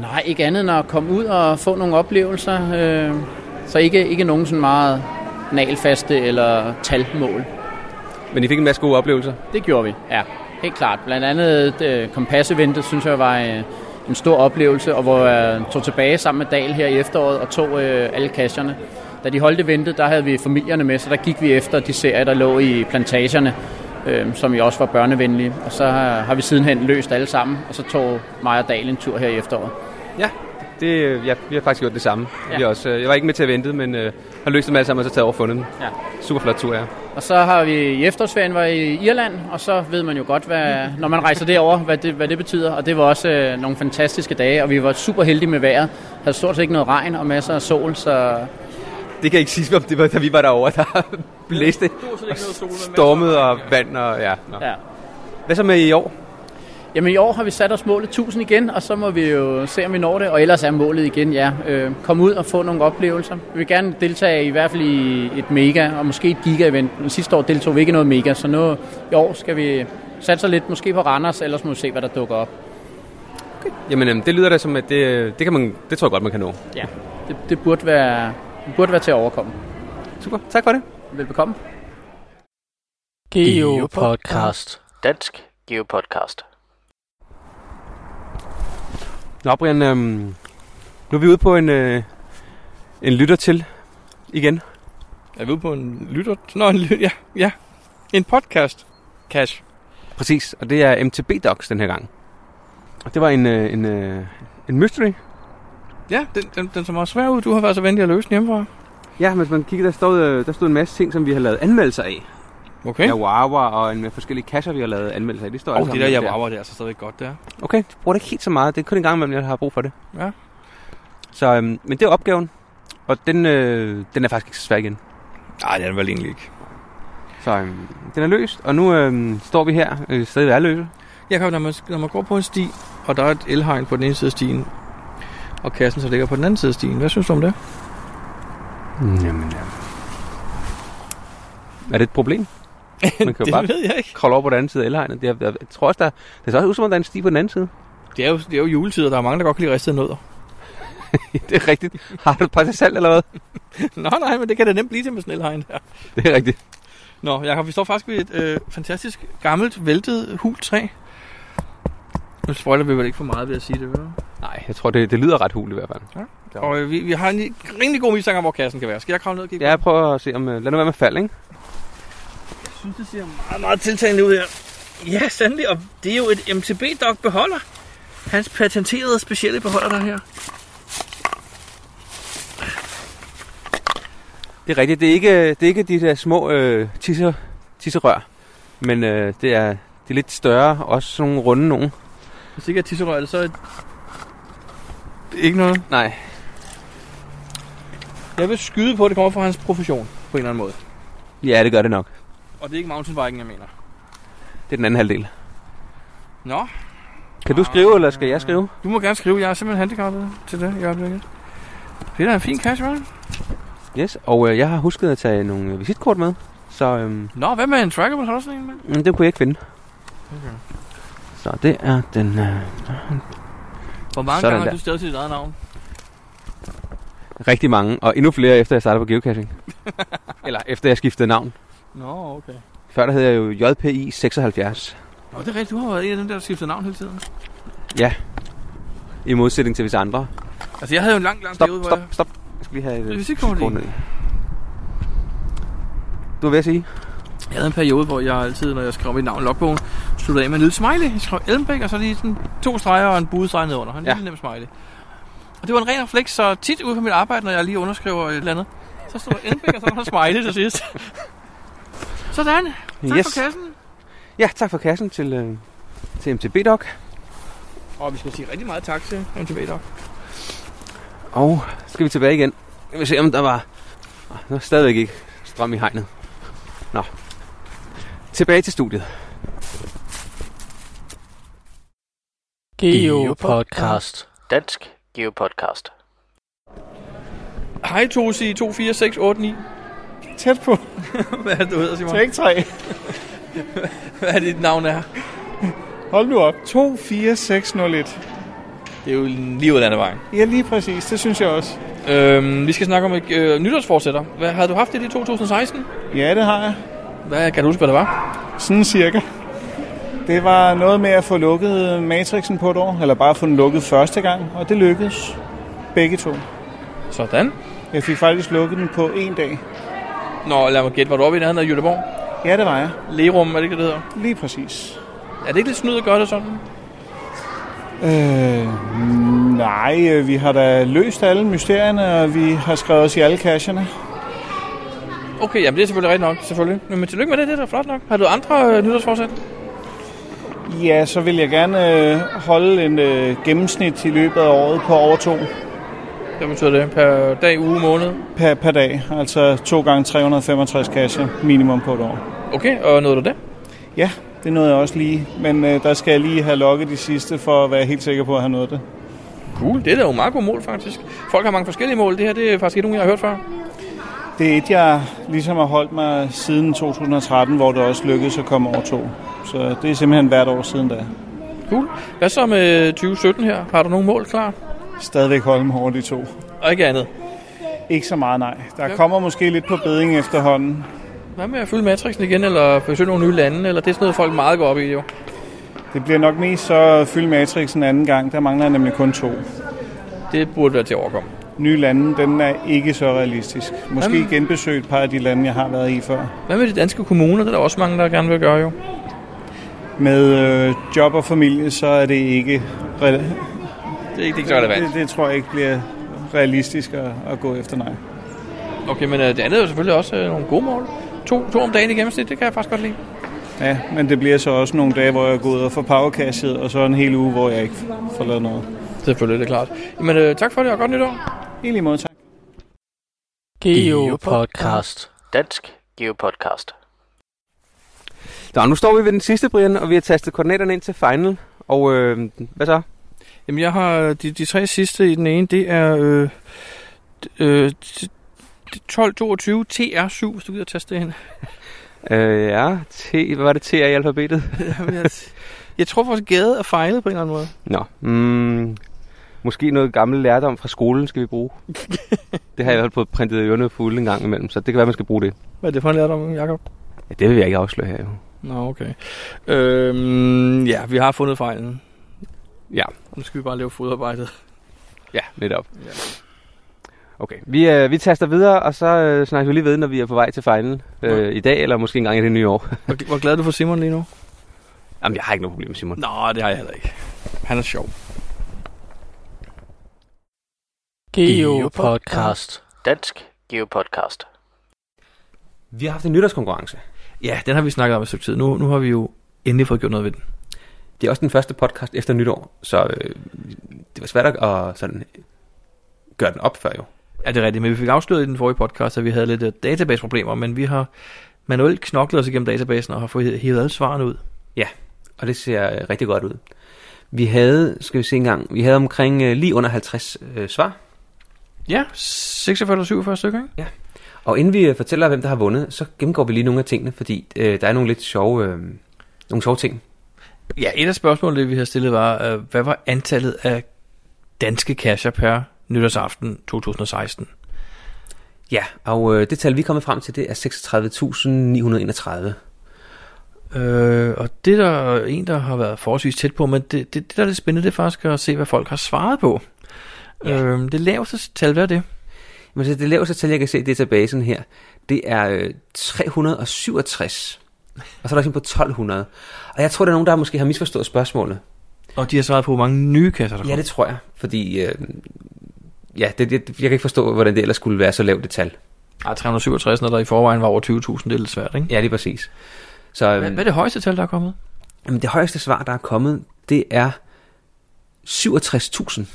nej, ikke andet end at komme ud og få nogle oplevelser. Øh, så ikke, ikke nogen sådan meget nalfaste eller talmål. Men I fik en masse gode oplevelser. Det gjorde vi, ja. Helt klart. Blandt andet øh, kompasseventet, synes jeg var øh, en stor oplevelse, og hvor jeg tog tilbage sammen med Dal her i efteråret og tog øh, alle kasserne. Da de holdt eventet, der havde vi familierne med, så der gik vi efter de serier, der lå i plantagerne, øh, som jo også var børnevenlige. Og så har, har vi sidenhen løst alle sammen, og så tog mig og Dal en tur her i efteråret. Det, øh, ja, vi har faktisk gjort det samme. Ja. Ja. Vi har også, øh, jeg var ikke med til at vente, men øh, har løst dem alle sammen og så taget over og fundet dem. Ja. Super flot tur, ja. Og så har vi i efterårsferien var i Irland, og så ved man jo godt, hvad, når man rejser derover, hvad det, hvad det betyder. Og det var også øh, nogle fantastiske dage, og vi var super heldige med vejret. Havde stort set ikke noget regn og masser af sol, så Det kan ikke siges, om det var, da vi var derovre, der *laughs* blæste, stormede og vand og ja. Nå. ja. Hvad så med i år? Jamen i år har vi sat os målet 1000 igen, og så må vi jo se, om vi når det. Og ellers er målet igen, ja, øh, kom ud og få nogle oplevelser. Vi vil gerne deltage i hvert fald i et mega, og måske et giga-event. Men Sidste år deltog vi ikke i noget mega, så nu i år skal vi satse lidt, måske på Randers, ellers må vi se, hvad der dukker op. Jamen, øhm, det lyder da som, at det, øh, det, kan man, det tror jeg godt, man kan nå. Ja, det, det, burde, være, det burde være til at overkomme. Super, tak for det. Velbekomme. Geopodcast. Dansk Geopodcast. Nå, Brian, øhm, nu er vi ude på en, øh, en lytter til igen. Er vi ude på en lytter? Nå, en lytter, ja, ja. En podcast. Cash. Præcis, og det er MTB Docs den her gang. Og det var en, øh, en, øh, en mystery, Ja, den, den, den som også svær ud. Du har været så venlig at løse den hjemmefra. Ja, hvis man kigger, der stod, øh, der stod en masse ting, som vi har lavet anmeldelser af. Okay. Ja, Wawa og en med forskellige kasser, vi har lavet anmeldelser af. Det står Og alle oh, det sammen der lidt Jawawa, det er altså stadigvæk godt der. Okay, du bruger det ikke helt så meget. Det er kun en gang imellem, jeg har brug for det. Ja. Så, øhm, men det er opgaven. Og den, øh, den er faktisk ikke så svær igen. Nej, det er den vel egentlig ikke. Så øhm, den er løst, og nu øhm, står vi her øh, stadig ved løse. Jeg kan, når, man, når man går på en sti, og der er et elhegn på den ene side af stien, og kassen så ligger på den anden side af stien. Hvad synes du om *laughs* det? Jamen, ja. Er det et *laughs* problem? Man kan jo bare ved jeg ikke. kravle over på den anden side af elhegnet. Jeg, jeg, jeg tror også, der, det ser også ud som om, der er en sti på den anden side. Det er jo, det er jo juletid, og der er mange, der godt kan lide ristede nødder. *laughs* det er rigtigt. Har du et par til salg eller hvad? *laughs* Nå nej, men det kan det nemt blive til med sådan et elhegn der. Det er rigtigt. Nå, Jacob, vi står faktisk ved et øh, fantastisk gammelt, væltet hultræ. Nu spoiler vi vel ikke for meget ved at sige det, vel? Nej, jeg tror, det, det lyder ret hul i hvert fald. Jo. Og øh, vi, vi har en rimelig god mistanke om, hvor kassen kan være. Skal jeg kravle ned og kigge? Ja, jeg prøver at se om... øh, Lad nu være med fald, ikke? Jeg synes, det ser meget, meget tiltagende ud her. Ja, sandelig. Og det er jo et MTB-dog beholder. Hans patenterede specielle beholder der er her. Det er rigtigt. Det er ikke, det er ikke de der små øh, tisser, tisserør, men øh, det er de lidt større, også sådan nogle runde nogen. Hvis ikke er tisserøg, er det så et... Det er ikke noget. Nej, Jeg vil skyde på, at det kommer fra hans profession på en eller anden måde. ja, det gør det nok. Og det er ikke mountainbiken, jeg mener. Det er den anden halvdel. Nå, Kan du skrive, eller skal jeg skrive? du må gerne skrive. Jeg er simpelthen handicappet til det i øjeblikket. Det er da en fin kasse, hva'? Yes, og øh, jeg har husket at tage nogle øh, visitkort med, så øhm, Nå, hvad med en trackable? Har du sådan en, mand? mm, det kunne jeg ikke finde. Okay. Så det er den... Øh, Hvor Sådan mange gange har der. du stadig til dit eget navn? rigtig mange, og endnu flere efter jeg startede på geocaching. *laughs* eller efter jeg skiftede navn. Nå, okay. Før der hed jeg jo JPI 76, Nå, det er rigtigt. Du har været en af dem, der skifter navn hele tiden. i modsætning til visse andre. Altså, jeg havde jo en lang, lang Stop, periode, stop, hvor stop. Jeg skal lige have Det er øh, visitkort i. visitkort ned i. Du er ved at sige? jeg, jeg havde en periode, hvor jeg altid, når jeg skrev mit navn i logbogen, sluttede af med en lille smiley. Jeg skrev Elmbæk, og så lige sådan to streger og en budestreg nedenunder. En ja. Ja. lille nem smiley. Og det var en ren refleks, så tit ude på mit arbejde, når jeg lige underskriver et eller andet, så stod der Elmbæk, og så var der smiley til *laughs* sidst. Sådan. Tak yes. for kassen. Ja, tak for kassen til, øh, til MTB Doc. Og vi skal sige rigtig meget tak til MTV Dog. Og så skal vi tilbage igen. Vi vil se, om der var... Nå, Der er stadigvæk ikke strøm i hegnet. Nå. Tilbage til studiet. Geopodcast. Dansk Geopodcast. Hej Tosi 24689. Tæt på. *laughs* Hvad er det, du hedder, Simon? Træk 3. *laughs* Hvad er dit navn er? Hold nu op. 24601. Det er jo lige ud af landevejen. Ja, lige præcis. Det synes jeg også. Øhm, vi skal snakke om øh, nytårsforsætter. Hvad havde du haft det i 2016? Ja, det har jeg. Hvad kan du huske, hvad det var? Sådan cirka. Det var noget med at få lukket Matrixen på et år, eller bare få den lukket første gang, og det lykkedes. Begge to. Sådan. Jeg fik faktisk lukket den på en dag. Nå, lad mig gætte, var du oppe i nærheden af Jødeborg? Ja, det var jeg. Lerum, er det ikke det, det hedder? Lige præcis. Er det ikke lidt snyd at gøre det sådan? Øh, nej, øh, vi har da løst alle mysterierne, og vi har skrevet os i alle kasserne. Okay, jamen det er selvfølgelig rigtigt nok, selvfølgelig. Men, men tillykke med det, det er da flot nok. Har du andre øh, nytårsforsæt? Ja, så vil jeg gerne øh, holde en øh, gennemsnit i løbet af året på over to Hvad betyder det? Per dag, uge, måned? per, per dag. Altså to gange 365 kasser minimum på et år. Okay, og nåede du det? Ja, det nåede jeg også lige, men øh, der skal jeg lige have lukket de sidste for at være helt sikker på at have nået det. Cool, det er da jo meget gode mål faktisk. Folk har mange forskellige mål, det her det er faktisk ikke nogen, jeg har hørt før. Det er et, jeg ligesom har holdt mig siden 2013, hvor det også lykkedes at komme over to. Så det er simpelthen hvert år siden da. Cool. Hvad så med 2017 her? Har du nogle mål klar? Stadigvæk holde mig over de to. Og ikke andet. Ikke så meget, nej. Der kommer måske lidt på beding efterhånden. Hvad med at fylde matrixen igen, eller besøge nogle nye lande, eller det er sådan noget, folk meget går op i jo. Det bliver nok mest så at fylde matrixen anden gang. Der mangler jeg nemlig kun to. Det burde være til at overkomme. Nye lande, den er ikke så realistisk. Måske Jamen. genbesøge et par af de lande, jeg har været i før. Hvad med de danske kommuner? Det er der også mange, der gerne vil gøre jo. Med øh, job og familie, så er det ikke... Re- Det er ikke, det er ikke så relevant. Det, det tror jeg ikke bliver realistisk at, at gå efter nej. Okay, men øh, det andet er jo selvfølgelig også øh, nogle gode mål. To, to om dagen i gennemsnit, det kan jeg faktisk godt lide. Ja, men det bliver så også nogle dage, hvor jeg går ud og får powercashet, og så en hel uge, hvor jeg ikke får lavet noget. Selvfølgelig, det er klart. Jamen, øh, tak for det, og godt nytår. I lige måde, tak. Geopodcast. Dansk Geopodcast. Nå, nu står vi ved den sidste, Brian, og vi har tastet koordinaterne ind til final. Og øh, hvad så? Jamen, jeg har de, de tre sidste i den ene, det er øh, øh, 1222 TR7, hvis du gider teste det hen. Øh, ja, T, hvad var det T er i alfabetet? *laughs* Jamen, jeg, jeg tror faktisk, gade er fejlet på en eller anden måde. Nå, mm, måske noget gammel lærdom fra skolen skal vi *laughs* bruge. det har jeg i hvert fald fået printet i ørerne fulde en gang imellem, så det kan være, man skal bruge det. Hvad er det for en lærdom, Jacob? Ja, det vil jeg ikke afsløre her jo. Nå, okay. Øhm, ja, vi har fundet fejlen. Ja. Nu skal vi bare lave fodarbejdet. Ja, netop. Ja. Okay, vi, øh, vi taster videre, og så øh, snakker vi lige ved, når vi er på vej til final øh, i dag, eller måske en gang i det nye år. Hvor, hvor glad er du for Simon lige nu? *laughs* Jamen, jeg har ikke noget problem med Simon. Nå, det har jeg heller ikke. Han er sjov. Geopodcast. Dansk Geopodcast. Vi har haft en nytårskonkurrence. Ja, den har vi snakket om et stykke tid. Nu, nu har vi jo endelig fået gjort noget ved den. Det er også den første podcast efter nytår, så øh, det var svært at at sådan, gøre den op før jo. Ja, det er rigtigt, men vi fik afsløret i den forrige podcast, at vi havde lidt øh, databaseproblemer, men vi har manuelt knoklet os igennem databasen og har fået hævet alle svarene ud. og det ser øh, rigtig godt ud. Vi havde, skal vi se engang, vi havde omkring øh, lige under 50 øh, svar, Ja, 46 eller 47 stykker, ikke? og inden vi øh, fortæller, hvem der har vundet, så gennemgår vi lige nogle af tingene, fordi øh, der er nogle lidt sjove, øh, nogle sjove ting. Ja, et af spørgsmålene, vi har stillet var, øh, hvad var antallet af danske casher per nytårsaften 2016? Ja, og øh, det tal, vi er kommet frem til, det er 36.931. Øh, og det der er der en, der har været forholdsvis tæt på, men det, det, det der er lidt spændende, det er faktisk at se, hvad folk har svaret på. Ja. Øh, det laveste tal, hvad er det? Men så det laveste tal, jeg kan se i databasen her, det er øh, 367. Og så er der sådan på 1200. Og jeg tror, der er nogen, der måske har misforstået spørgsmålet. Og de har svaret på, hvor mange nye kasser der Ja, det tror jeg, fordi... Øh, ja, det, det, jeg kan ikke forstå, hvordan det ellers skulle være så lavt et tal. Ej, 367, når der i forvejen var over 20.000, det er lidt svært, ikke? Ja, lige præcis. Så øh, Hvad, hvad er det højeste tal, der er kommet? Jamen, det højeste svar, der er kommet, det er 67.000.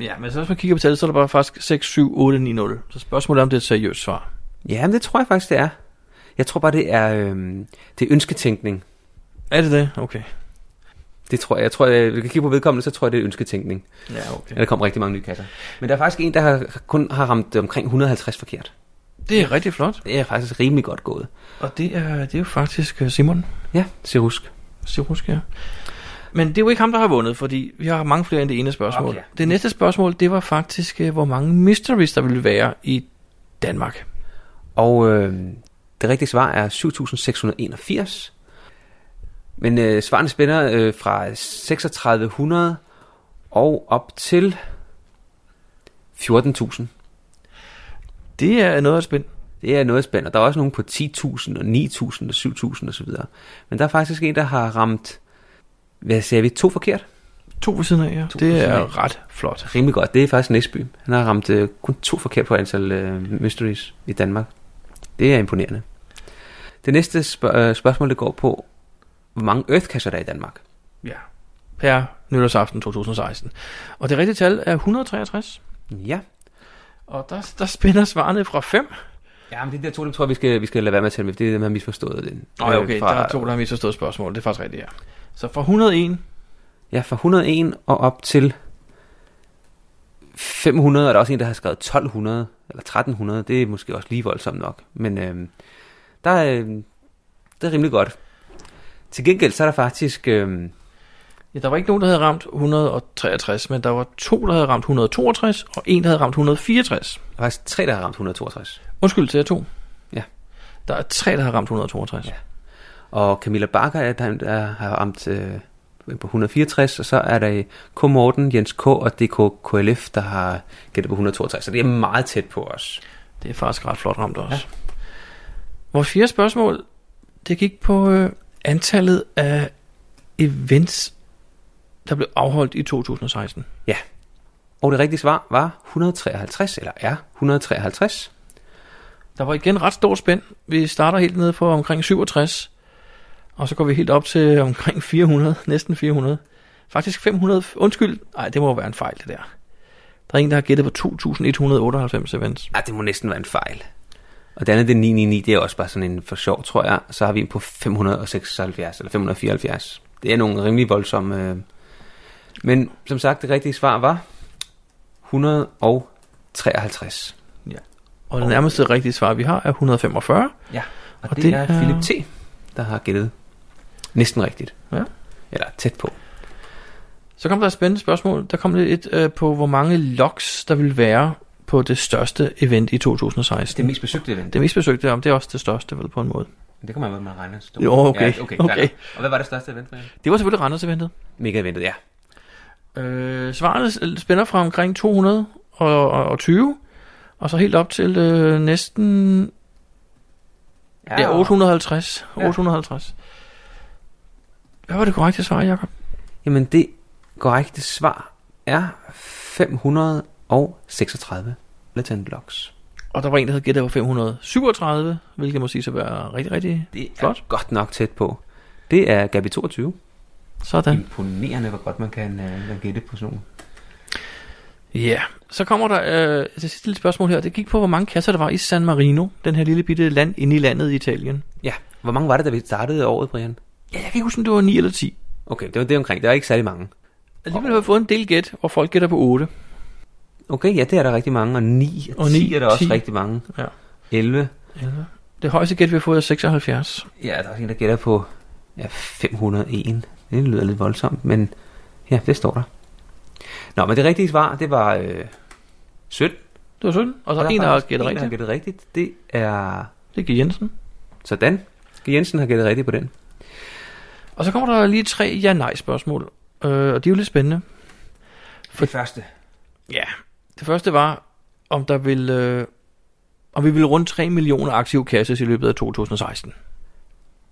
Ja, men så hvis man kigger på tallet, så er der bare faktisk 6, 7, 8, 9, 0. Så spørgsmålet er, om det er et seriøst svar. Ja, men det tror jeg faktisk, det er. Jeg tror bare, det er, øh, det er ønsketænkning. Er det det? Okay. Det tror jeg. Jeg tror, jeg, vi kan kigge på vedkommende, så tror jeg, det er ønsketænkning. Ja, Ja, der kom rigtig mange nye kasser. Men der er faktisk en, der har, kun har ramt omkring 150 forkert. Det er rigtig flot. Det er faktisk rimelig godt gået. Og det er, det er jo faktisk øh, Simon Ja, Sirusk. Sirusk, ja. Men det er jo ikke ham, der har vundet, fordi vi har mange flere end det ene spørgsmål. Okay. Okay. Det næste spørgsmål, det var faktisk, øh, hvor mange mysteries, der ville være i Danmark. Og øh, det rigtige svar er 7.681. Men øh, svarene spænder øh, fra 3600 og op til 14.000. Det er noget af et spænd. Det er noget spændende. Der er også nogen på 10.000 og 9.000 og 7.000 osv. Men der er faktisk en, der har ramt, hvad siger vi, to forkert? To ved siden af, ja. To ved Det siden er af. ret flot. Rimelig godt. Det er faktisk Næsby. Han har ramt øh, kun to forkert på antal øh, mysteries i Danmark. Det er imponerende. Det næste spørg- øh, spørgsmål, det går på, hvor mange earthcasher der er i Danmark. Ja. Per nytårsaften 2016. Og det rigtige tal er 163. Ja. Og der, der spænder svarene fra 5. Ja, men det der to, dem tror jeg, vi skal, vi skal lade være med at tælle med, for det er dem, har misforstået den. Nej, Øh, okay, der er to, der har misforstået spørgsmålet. Det er faktisk rigtigt, ja. Så fra 101, Ja, fra 101 og op til 500, og der er også en, der har skrevet 1200 eller 1300. Det er måske også lige voldsomt nok, men øh, der er, øh, det er rimelig godt. Til gengæld så er der faktisk... Øh, øhm, ja, der var ikke nogen, der havde ramt 163, men der var to, der havde ramt 162, og en, der havde ramt 164. Der er faktisk tre, der har ramt 162. Undskyld til jer to. Ja. Der er tre, der har ramt 162. Ja. Og Camilla Bakker er den, der har ramt øh, på 164, og så er der øh, K. Morten, Jens K. og DK KLF, der har gættet på 162. Så det er meget tæt på os. Det er faktisk ret flot ramt også. Ja. Vores fjerde spørgsmål, det gik på øh, antallet af events, der blev afholdt i 2016. Og det rigtige svar var 153, eller er 153. Der var igen ret stor spænd. Vi starter helt nede på omkring 67, og så går vi helt op til omkring 400, næsten 400. Faktisk 500, undskyld, nej, det må jo være en fejl det der. Der er en, der har gættet på 2198 events. Ah, det må næsten være en fejl. Og det andet, det er 999, det er også bare sådan en for sjov, tror jeg. Så har vi en på 576 eller 574. Det er nogle rimelig voldsomme... Øh. Men som sagt, det rigtige svar var 153. Og det nærmeste rigtige svar, vi har, er 145. Ja, og, Og og det, det det er er- Philip T., der har gættet næsten rigtigt. Ja. Eller tæt på. Så kom der et spændende spørgsmål. Der kom lidt et øh, på, hvor mange logs der vil være på det største event i 2016. Det mest besøgte event. det mest besøgte om, det er også det største vel på en måde. Det kommer an, hvad man regner. Så Jo, okay. Ja, okay, Okay. okay. Og hvad var det største event for jer? Det var selvfølgelig Randers-eventet. Mega eventet, ja. Øh, svarene spænder fra omkring 220, og så helt op til øh, næsten ja, 850. Ja. 850. Hvad var det korrekte svar, Jacob? Jamen det korrekte svar er 536 Latin Blocks. Og der var en, der havde gættet på 537, hvilket må sige at være rigtig, rigtig Det er Flot. godt nok tæt på. Det er Gabi 22. sådan. Imponerende, hvor godt man kan, uh, kan gætte på sådan nogle. Ja, yeah. så kommer der øh, det sidste lille spørgsmål her. Det gik på, hvor mange kasser der var i San Marino, den her lille bitte land inde i landet i Italien. Ja, hvor mange var det, da vi startede året, Brian? Ja, jeg kan ikke huske, om det var 9 eller 10. Okay, det var det omkring. Det var ikke særlig mange. Alligevel har vi fået en del gæt, hvor folk gætter på 8. Okay, ja, det er der rigtig mange. Og 9 og 10 er der også 10. rigtig mange. Ja. 11. Det højeste gæt, vi har fået, er 76. Ja, der er også en, der gætter på ja, 501. Det lyder lidt voldsomt, men ja, det står der. Nå, men det rigtige svar, det var øh, 17. Det var 17. Og så der en, faktisk der har også en, gættet der har rigtigt. gættet rigtigt. Det er Det gik Jensen. sådan. G. Jensen har gættet rigtigt på den. Og så kommer der lige tre ja-nej-spørgsmål. Øh, og de er jo lidt spændende. For- Det første. Ja. Det første var, om der vil... Øh, om vi vil rundt 3 millioner aktive kasses i løbet af 2016.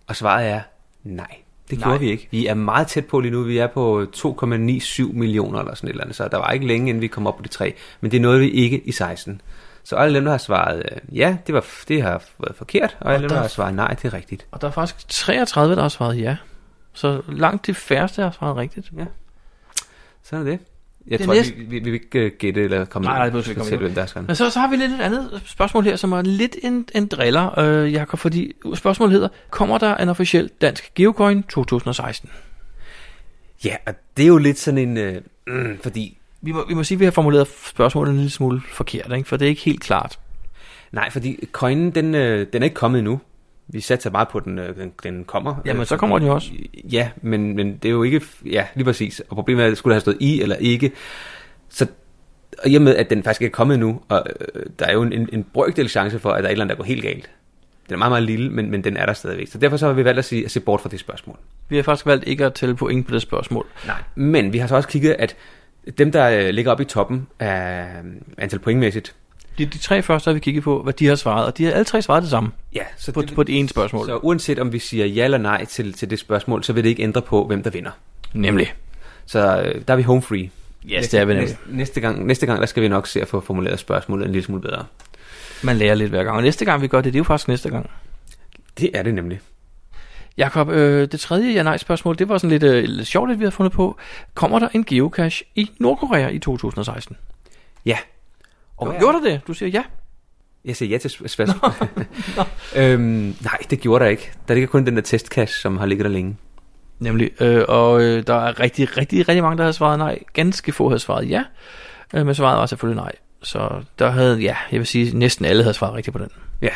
Og svaret er nej. Det Nej. gjorde vi ikke. Vi er meget tæt på lige nu. Vi er på 2,97 millioner eller sådan et eller andet. Så der var ikke længe, inden vi kom op på de tre. Men det nåede vi ikke i 16. Så alle dem, der har svaret øh, ja, det, var, det har været forkert. Og, alle dem, der- der har svaret nej, det er rigtigt. Og der er faktisk 33, der har svaret ja. Så langt de færreste har svaret rigtigt. Sådan er det. Jeg Det tror, næste- vi, vi, vi vil ikke øh, gætte eller komme Nej, nej, det behøver vi ikke komme til, hvem der har skrevet. Men så, så har vi lidt et andet spørgsmål her, som er lidt en, en driller, øh, Jakob, fordi spørgsmålet hedder, kommer der en officiel dansk geocoin 2016? Ja, og det er jo lidt sådan en... Øh, mm, fordi Vi må, vi må sige, at vi har formuleret spørgsmålet en lille smule forkert, ikke? for det er ikke helt klart. Nej, fordi coinen, den, øh, den er ikke kommet endnu. Vi satser meget på, at den, øh, den, den kommer. Øh, Jamen, så kommer den jo også. Ja, men, men det er jo ikke... Ja, lige præcis. Og problemet er, at det skulle have stået i eller ikke. Så og i og med, at den faktisk ikke er kommet endnu, og øh, der er jo en, en, en brøkdel chance for, at der er et eller andet, der går helt galt. Den er meget, meget lille, men, men den er der stadigvæk. Så derfor så har vi valgt at, sige, at se bort fra det spørgsmål. Vi har faktisk valgt ikke at tælle point på det spørgsmål. Nej. Men vi har så også kigget, at dem, der øh, ligger oppe i toppen af øh, antal pointmæssigt, De, de tre første har vi kigget på, hvad de har svaret, og de har alle tre svaret det samme ja, så på, det, på det ene spørgsmål. Så uanset om vi siger ja eller nej til, til det spørgsmål, så vil det ikke ændre på, hvem der vinder. Nemlig. Så øh, der er vi home free. Yes, det er vi nemlig. næste, næste, gang, næste gang, der skal vi nok se at få formuleret spørgsmålet en lille smule bedre. Man lærer lidt hver gang. Og næste gang vi gør det, det er jo faktisk næste gang. Det er det nemlig. Jakob, øh, det tredje ja-nej-spørgsmål, det var sådan lidt, øh, lidt sjovt, at vi har fundet på. Kommer der en geocache i Nordkorea i 2016? Ja. Og ja. gjorde der det? Du siger ja. Jeg siger ja til sp- spørgsmålet. øhm, nej, det gjorde der ikke. Der ligger kun den der testcash, som har ligget der længe. Nemlig. Øh, og øh, der er rigtig, rigtig, rigtig mange, der har svaret nej. Ganske få havde svaret ja. Øh, men svaret var selvfølgelig nej. Så der havde, ja, jeg vil sige, næsten alle havde svaret rigtigt på den. Ja.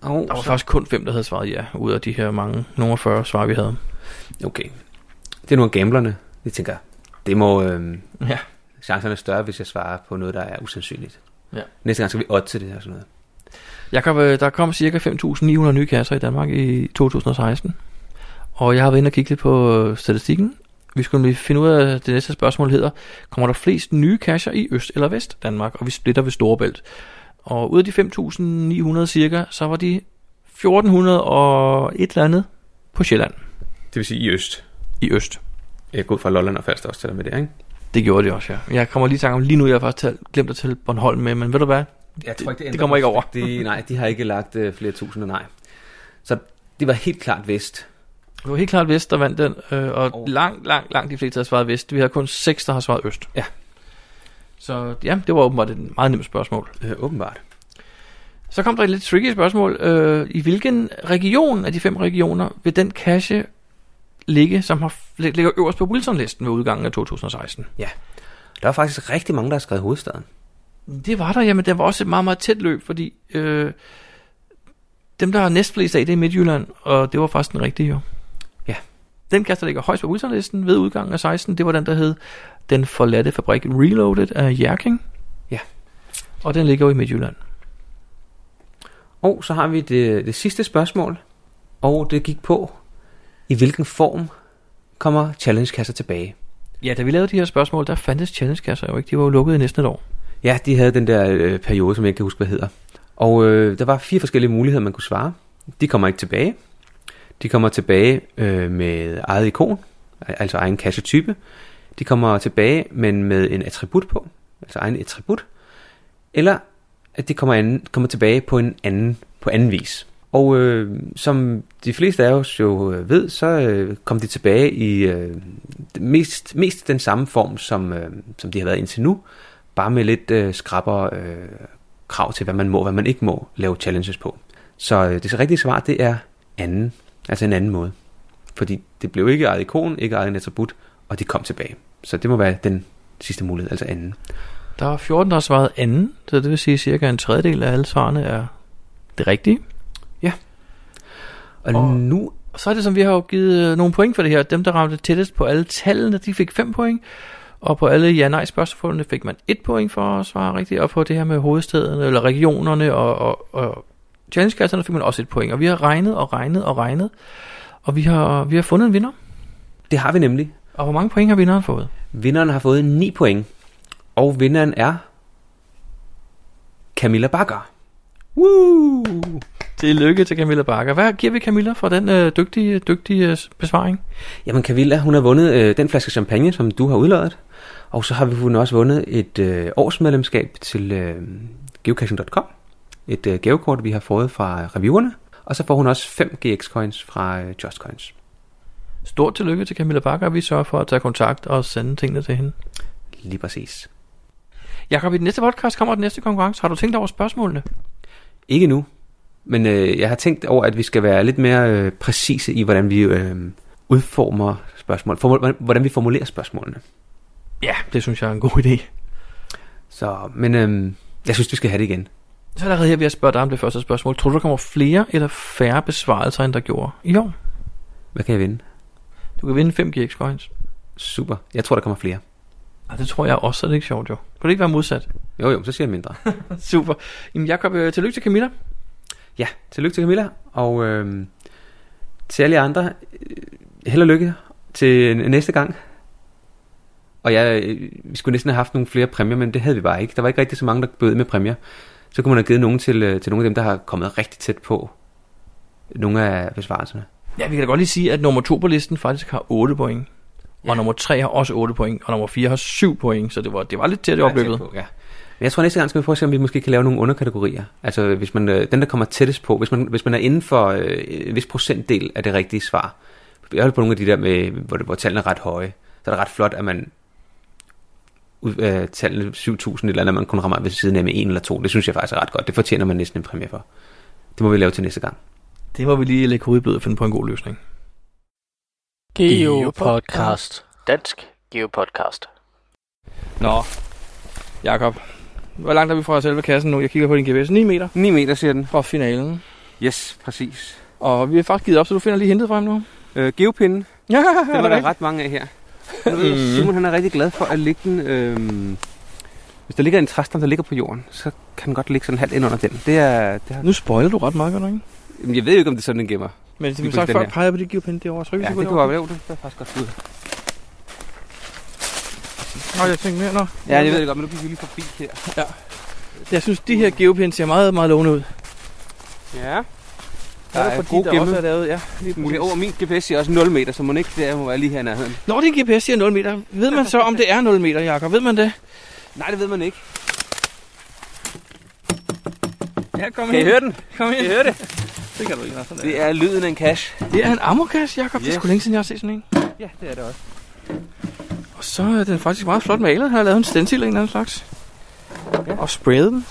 Og, Der var faktisk kun fem, der havde svaret ja, ud af de her mange, nogle 40 svar, vi havde. okay. Det er nogle af gamblerne. Jeg tænker, det må... Øhm, Ja. chancerne er større, hvis jeg svarer på noget, der er usandsynligt. Ja. Næste gang skal vi otte til det her og sådan noget. Jakob, øh, der kom cirka 5.900 nye kasser i Danmark i 2016. Og jeg har været inde og kigge lidt på øh, statistikken. Vi skulle lige finde ud af, det næste spørgsmål hedder, kommer der flest nye kasser i Øst- eller Vest Danmark? Og vi splitter ved Storebælt. Og ud af de 5.900 cirka, så var de 1.400 og et eller andet på Sjælland Det vil sige i øst. i Øst. Jeg går ud fra Lolland og fast også til dig med det, ikke? Det gjorde de også, ja. Jeg kommer lige i tanke om, lige nu jeg har faktisk talt- glemt at tælle Bornholm med, men ved du hvad? Jeg tror ikke, det, det kommer ikke over. De, nej, de har ikke lagt øh, flere tusinde, nej. Så det var helt klart vest. Det var helt klart Vest, der vandt den, øh, og oh. langt, langt, langt de fleste har svaret Vest. Vi har kun seks, der har svaret Øst. Ja. Så ja, det var åbenbart et meget nemt spørgsmål. Øh, åbenbart. Så kom der et lidt tricky spørgsmål. Øh, I hvilken region af de fem regioner vil den cache ligge, som har, ligger øverst på Wilson-listen ved udgangen af 2016? Der var faktisk rigtig mange, der har skrevet hovedstaden. Det var der, jamen det var også et meget, meget tæt løb, fordi øh, dem, der har næstflest af, det er Midtjylland, og det var faktisk den rigtige jo. Ja. Den kast, der ligger højst på Wilson-listen ved udgangen af 16, det var den, der hed Den forladte fabrik Reloaded af Jerking. Ja. Og den ligger jo i Midtjylland. Og så har vi det, det sidste spørgsmål, og det gik på, i hvilken form kommer challenge-kasser tilbage? Ja, da vi lavede de her spørgsmål, der fandtes challenge-kasser jo ikke. De var jo lukket i næsten et år. Ja, de havde den der øh, periode, som jeg ikke kan huske, hvad hedder. Og øh, der var fire forskellige muligheder, man kunne svare. De kommer ikke tilbage. De kommer tilbage øh, med eget ikon, al- altså egen kassetype. De kommer tilbage, men med en attribut på, altså egen attribut. Eller at de kommer, anden, kommer tilbage på en anden, på anden vis. Og øh, som de fleste af os jo øh, ved, så øh, kom de tilbage i øh, mest, mest den samme form, som, øh, som de har været indtil nu bare med lidt øh, skrabber øh, krav til, hvad man må og hvad man ikke må lave challenges på. Så øh, det rigtige svar, det er anden, altså en anden måde. Fordi det blev ikke eget ikon, ikke eget en attribut, og de kom tilbage. Så det må være den sidste mulighed, altså anden. Der var 14, der har svaret anden, så det vil sige, at cirka en tredjedel af alle svarene er det rigtige. Og, Og- og nu, Og så er det som, vi har jo givet øh, nogle point for det her. Dem, der ramte tættest på alle tallene, de fik 5 point. Og på alle ja-nej spørgsmålene fik man 1 point for at svare rigtigt. Og på det her med hovedstederne, eller regionerne og, og, og challengekasserne fik man også et point. Og vi har regnet og regnet og regnet. Og vi har, vi har fundet en vinder. det har vi nemlig. Og hvor mange point har vinderen fået? Vinderen har fået 9 point, og vinderen er Camilla Bakker. Woo! Tillykke til Camilla Bakker. Hvad giver vi Camilla for den øh, dygtige, dygtige øh, besvaring? Jamen Camilla, hun har vundet øh, den flaske champagne, som du har udløjet. Og så har vi- hun også vundet et øh, årsmedlemskab til øh, geocaching.com. Et øh, gavekort, vi har fået fra reviewerne. Og så får hun også 5 GX-coins fra øh, Just Coins. Stort tillykke til Camilla Bakker. Vi sørger for at tage kontakt og sende tingene til hende. Lige præcis. Jakob, i den næste podcast kommer den næste konkurrence. Har du tænkt over spørgsmålene? Ikke nu, men øh, jeg har tænkt over, at vi skal være lidt mere øh, præcise i, hvordan vi øh, udformer spørgsmål. Formul- hvordan- hvordan vi formulerer spørgsmålene. Ja, det synes jeg er en god idé. Så, men øh, jeg synes, vi skal have det igen. Så er der allerede her, vi har spurgt dig om det første spørgsmål. Tror du, der kommer flere eller færre besvarelser, end der gjorde i år? Hvad kan jeg vinde? Du kan vinde 5 GX coins. Super. Jeg tror, der kommer flere. Og det tror jeg også, så er det ikke sjovt jo. Kunne det ikke være modsat? Jo, jo, så siger jeg mindre. *laughs* Super. Jamen Jacob, øh, tillykke til Camilla. Ja, tillykke til Camilla, og øh, til alle jer andre, øh, held og lykke til n- næste gang. Og jeg, øh, vi skulle næsten have haft nogle flere præmier, men det havde vi bare ikke. Der var ikke rigtig så mange, der bød med præmier. Så kunne man have givet nogen til, øh, til nogle af dem, der har kommet rigtig tæt på nogle af besvarelserne. Ja, vi kan da godt lige sige, at nummer 2 på listen faktisk har 8 point. Ja. Og nummer 3 har også 8 point, og nummer 4 har 7 point, så det var, det var lidt tæt i opløbet. Ja. Men jeg tror næste gang skal vi prøve at se, om vi måske kan lave nogle underkategorier. Altså hvis man, øh, den, der kommer tættest på, hvis man, hvis man er inden for øh, en vis procentdel af det rigtige svar. Jeg har på nogle af de der, med, hvor, hvor tallene er ret høje. Så er det ret flot, at man ud af tallene 7.000 eller andet, man kun rammer ved siden af med en eller to. Det synes jeg faktisk er ret godt. Det fortjener man næsten en præmie for. Det må vi lave til næste gang. Det må vi lige lægge hovedet i blød og finde på en god løsning. Geo Podcast. Dansk Geo Podcast. Nå, Jakob. Hvor langt er vi fra selve kassen nu? Jeg kigger på din GPS. 9 meter 9 meter, siger den. fra finalen. Yes, præcis. Og vi har faktisk givet op, så du finder lige hentet frem nu. Øh, geopinden, *laughs* Ja, den var der ret mange af her. Mm-hmm. Nu ved jeg, Mhm. Simon han er rigtig glad for at ligge den... Øh, hvis der ligger en træstam, der ligger på jorden, så kan den godt ligge sådan halvt ind under den. Det er, det har, Nu spoiler du ret meget, gør du ikke? Jamen, jeg ved jo ikke, om det er sådan, den gemmer. Men som Lige sagt, præcis den før her. pegede jeg på det geopinde derovre. Tryk, Ja, det kunne være, jo, det er faktisk godt ud. Nå, jeg tænkte mere. Nå. Ja, jeg ved det godt, men nu gik vi lige forbi her. Jeg synes, de her geopinde ser meget, meget lovende ud. Ja. Der er, fordi gode der gemme. også er lavet- ja, lige lige præcis. muligt. Over min GPS siger også 0 meter, så må den ikke der må være lige her i nærheden. Når din GPS siger 0 meter, ved man så, om det er 0 meter, Jakob? Ved man det? Nej, det ved man ikke. Ja, kom Kan I høre den? Kom ind. Kan I høre det? Det kan du ikke. Sådan Det er lyden af en cash. Det er en amorkasse, Jakob. Yes. Det er Yes. sgu længe siden, jeg har set sådan en. Ja, det er det også. Og så er den faktisk meget flot malet. Han har lavet en stencil af en eller anden slags. Ja. Og sprayet den.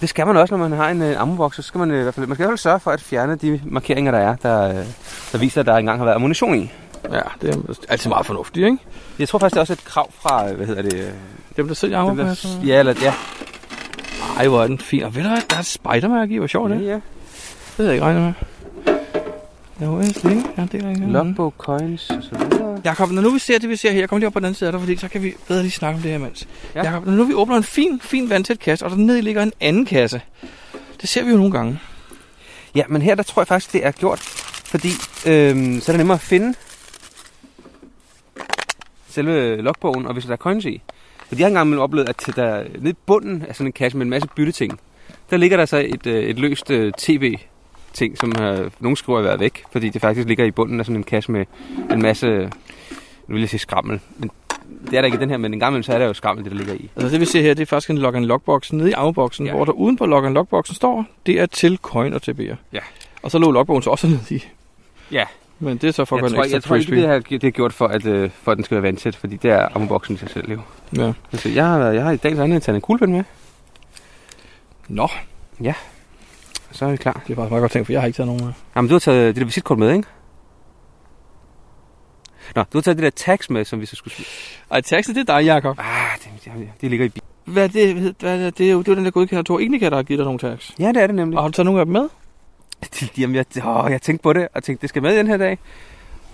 Det skal man også, når man har en uh, ammoboks, så skal man, uh, i hvert fald, man skal i hvert fald sørge for at fjerne de markeringer, der er, der, uh, der viser, at der engang har været ammunition i. Ja, det er altid meget fornuftigt, ikke? Jeg tror faktisk, det er også et krav fra, øh, hvad hedder det? øh, Dem, der sælger dem, amorkasser. der, ja, eller, ja. Ej, hvor er den fin. Og ved du hvad, der er et spidermærke i. Hvor sjovt det er. ja, ja. Det havde jeg ikke regnet med. Jo, jeg er ikke. Ja, det er ikke. Logbook, coins og så videre. Jakob, når nu vi ser det, vi ser her, jeg kommer lige op på den anden side af dig, fordi så kan vi bedre lige snakke om det her imens. Ja. Ja. Jakob, når nu vi åbner en fin, fin vandtæt kasse, og dernede ligger en anden kasse. Det ser vi jo nogle gange. Ja, men her der tror jeg faktisk, det er gjort, fordi øhm, så er det nemmere at finde selve logbogen, og hvis der er coins i. Fordi jeg har engang imellem oplevet, at der nede i bunden af sådan en kasse med en masse bytteting, der ligger der så et, øh, et løst øh, tv-ting, som øh, nogen skriver har været væk, fordi det faktisk ligger i bunden af sådan en kasse med en masse, nu vil jeg sige skrammel, men det er der ikke i den her, men en gang imellem, så er der jo skrammel, det der ligger i. Altså det vi ser her, det er faktisk en log and logboksen nede i afboksen, ja. Ja. hvor der uden på log and logboksen står, det er til coin og TB'er. Ja. Og så lå logbogen så også nede i. Ja. Men det er så for at jeg gøre en tror, ekstra jeg tror ikke, frisbee. det, her, det er gjort for, at, øh, for at den skal være vandsæt, fordi det er ammoboksen i sig selv, jo. Ja. Altså, jeg har, været- jeg har i dagens anledning taget en kuglepen med, Nå, så er vi klar. det er faktisk meget godt tænkt, for jeg har ikke taget nogen med. Jamen, du har taget det der visitkort med, ikke? Nå, du har taget det der tax med, som vi så skulle... sm- Ej, taxa, det er dig, Jakob. Ah, det, det, det ligger i bilen. Hvad er det, hvad, hedder- hvad er det, det er jo det er jo den der godkender Tor Ignica, der har givet dig nogle tax. Ja, det er det nemlig. Og har du taget nogle af dem med? *laughs* De, de, jamen, jeg, åh, jeg tænkte på det, og tænkte, det skal med i den her dag.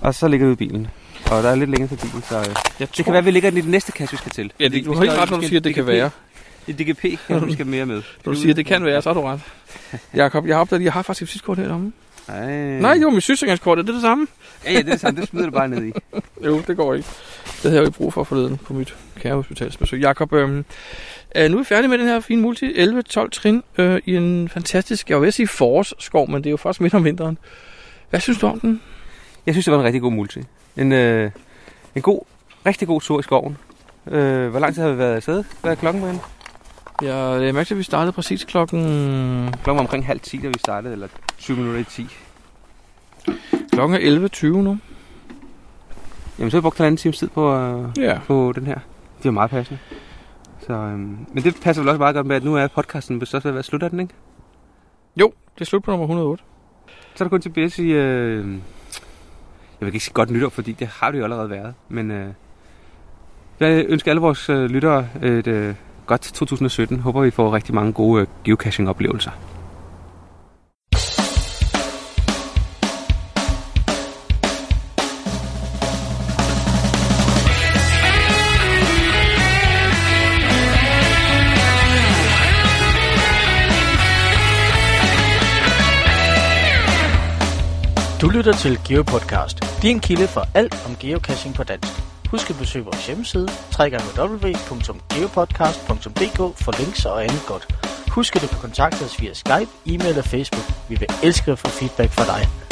Og så ligger det ude i bilen. Og der er lidt længere til bilen, så... Øh, Jeg det kan være, vi lægger den i den næste kasse, vi skal til. Ja, det, Fordi du vi har ikke skal- ret, når vi du skal- siger, at det kan DGP være. I *laughs* DGP kan vi skal mere med. Når du siger, at det kan være, så har du ret. Jakob, jeg har opdaget, at jeg har faktisk et visitkort her deromme. Mm. Nej, jo, mit sygesikringskort, er det det samme? Ja, ja, det er samme. Det smider du bare ned i. *laughs* Jo, det går ikke. Det havde jeg jo ikke brug for forleden på mit kære hospitalsbesøg. Jakob, øhm, øh, nu er vi færdige med den her fine multi 11-12 trin øh, i en fantastisk, jeg vil sige forårsskov, men det er jo først midt om vinteren. Hvad synes du om den? Jeg synes, det var en rigtig god multi. En, øh, en god, rigtig god tur i skoven. Øh, hvor lang tid har vi været afsted? Hvad er klokken, Brian? Jeg jeg mærkte, at vi startede præcis klokken... Klokken var omkring halv 10, da vi startede, eller 20 minutter i 10. Klokken er 11.20 nu. Jamen, så har vi brugt en anden times tid på, øh, Ja. på den her. Det er meget passende. Så, øh, men det passer vel også meget godt med, at nu er podcasten vist også ved at være slut af den, ikke? Det er slut på nummer 108. Så er der kun tilbage at sige... Øh, jeg vil ikke sige godt nytår, fordi det har det jo allerede været. Men øh, jeg ønsker alle vores øh, lyttere et øh, godt 2017. Håber, vi får rigtig mange gode øh, geocaching-oplevelser. Du lytter til GeoPodcast, din kilde for alt om geocaching på dansk. Husk at besøge vores hjemmeside, www.geopodcast.dk for links og andet godt. Husk at du kan kontakte os via Skype, e-mail og Facebook. Vi vil elske at få feedback fra dig.